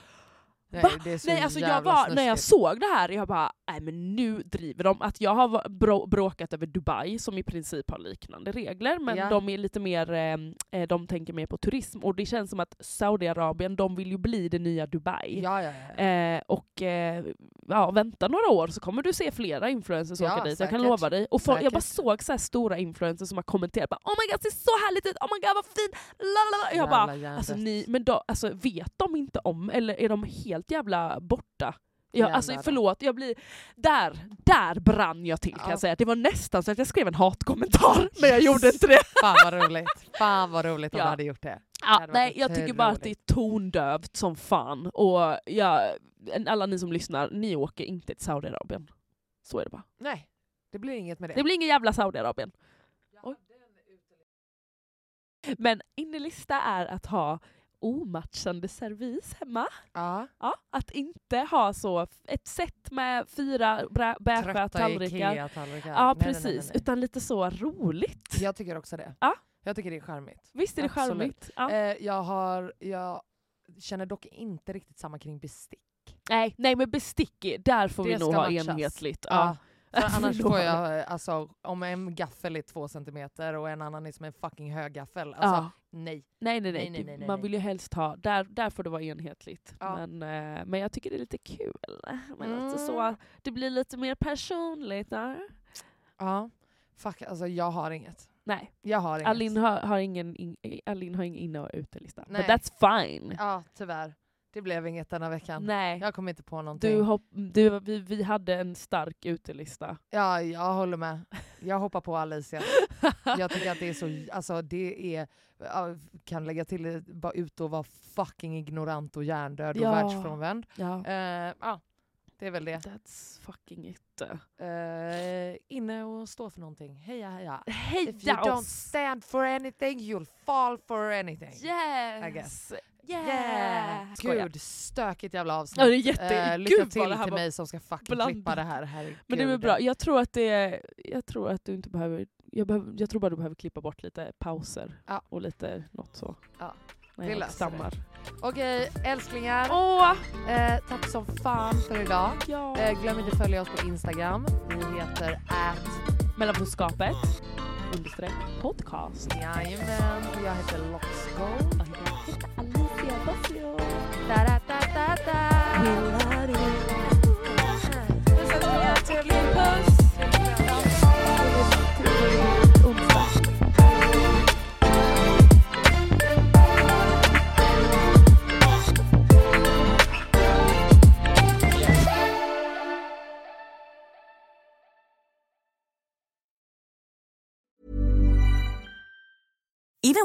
S1: Nej,
S2: va?
S1: det är så
S2: nej, alltså jag
S1: jävla
S2: var, när jag
S1: snuskigt.
S2: såg det här, jag bara nej men nu driver de. Att jag har va- brå- bråkat över Dubai som i princip har liknande regler men
S1: Ja.
S2: de är lite mer, eh, eh, de tänker mer på turism och det känns som att Saudiarabien, de vill ju bli det nya Dubai.
S1: Ja, ja, ja.
S2: Eh, och eh, ja, vänta några år så kommer du se flera influencers
S1: Ja,
S2: åka dit, jag kan
S1: säkert.
S2: lova dig. Och folk, jag bara
S1: Säkert.
S2: såg så här stora influencers som har kommenterat bara, oh my god det ser så härligt ut, oh my god vad fint,
S1: Eh,
S2: lalalala. Jag bara,
S1: Jävla
S2: alltså,
S1: hjärndött.
S2: ni, men då, alltså, vet de inte om, eller är de helt jävla borta? Jag, alltså
S1: Jävlar.
S2: förlåt, jag blir... Där, där brann jag till kan
S1: Ja.
S2: jag säga. Det var nästan så att jag skrev en hatkommentar, men jag
S1: Yes.
S2: gjorde inte det.
S1: Fan vad roligt. Fan vad roligt om
S2: Ja.
S1: du hade gjort det.
S2: Ja,
S1: hade varit
S2: nej, jag tycker bara att det är
S1: otroligt.
S2: tondövt som fan. Och jag, alla ni som lyssnar, ni åker inte till Saudiarabien. Så är det bara.
S1: Nej, det blir inget med det.
S2: Det blir ingen jävla Saudiarabien. Oj. Men innerlista är att ha omatchande servis hemma.
S1: Ja.
S2: Ja, att inte ha så f- ett set med fyra bra- beigea tallrikar.
S1: Ikea-tallrikar.
S2: Ja,
S1: Nej, nej,
S2: precis.
S1: nej, nej, nej.
S2: Utan lite så roligt.
S1: Jag tycker också det.
S2: Ja.
S1: Jag tycker det är charmigt.
S2: Visst är det
S1: absolut.
S2: charmigt? Ja.
S1: Eh, jag, har, jag känner dock inte riktigt samma kring bestick.
S2: nej, nej, men bestick, i, där får vi
S1: det
S2: nog
S1: ska
S2: ha
S1: matchas.
S2: enhetligt.
S1: Ja.
S2: Ja.
S1: För annars får
S2: Förlåt.
S1: jag, eh, alltså, om en gaffel är två centimeter och en annan är som en fucking höggaffel. Alltså,
S2: Ja.
S1: nej.
S2: Nej, nej, nej.
S1: Nej, nej,
S2: Du-
S1: nej, nej,
S2: man
S1: nej.
S2: vill ju helst ha, där, där får det vara enhetligt.
S1: Ja.
S2: Men, eh, men jag tycker det är lite kul. Men
S1: Mm.
S2: alltså så, det blir lite mer personligt. Där.
S1: Ja. Fuck, alltså jag har inget.
S2: Nej,
S1: Jag har inget.
S2: Alin har, har ingen in, Alin har ingen inne och utelista.
S1: Nej.
S2: But that's fine.
S1: Ja, tyvärr. Det blev inget denna veckan.
S2: Nej.
S1: Jag kom inte på någonting.
S2: Du hopp, du, vi, vi hade en stark utelista.
S1: Ja, jag håller med. Jag hoppar på Alicia. Jag tycker att det är så... Alltså det är... ja, Kan lägga till det, bara ut och vara fucking ignorant och hjärndöd och
S2: Ja.
S1: världsfrånvänd.
S2: ja.
S1: Eh, ja, det är väl det.
S2: That's fucking it.
S1: Eh, inne och stå för någonting. Heja heja. If you
S2: Heja
S1: don't
S2: oss!
S1: stand for anything you'll fall for anything.
S2: Yes!
S1: I guess.
S2: Yeah! Skojar.
S1: Gud, stökigt jävla
S2: Ja, det
S1: avsnitt.
S2: är jätte...
S1: Eh,
S2: Gud,
S1: lycka
S2: vad
S1: till
S2: det här
S1: till
S2: var
S1: mig som ska fucking
S2: blandat.
S1: klippa det här. Herregud.
S2: Men det är väl bra. Jag tror att det är, jag tror att du inte behöver jag, behöver... jag tror bara du behöver klippa bort lite pauser
S1: Ja.
S2: och lite något så.
S1: Ja.
S2: När
S1: Vi
S2: jag
S1: löser
S2: stammar.
S1: Okej, älsklingar.
S2: Åh!
S1: Eh, tack som fan för idag.
S2: Ja.
S1: Eh, glöm inte att följa oss på Instagram. Vi heter att...
S2: Mellanboskapet understreck podcast.
S1: Jajamän. Och Jag heter Loxgold.
S2: Alicia Bassio.
S1: Da-da-da-da-da. Puss och kram. Trevlig
S2: Puss! Onsdag.
S3: Even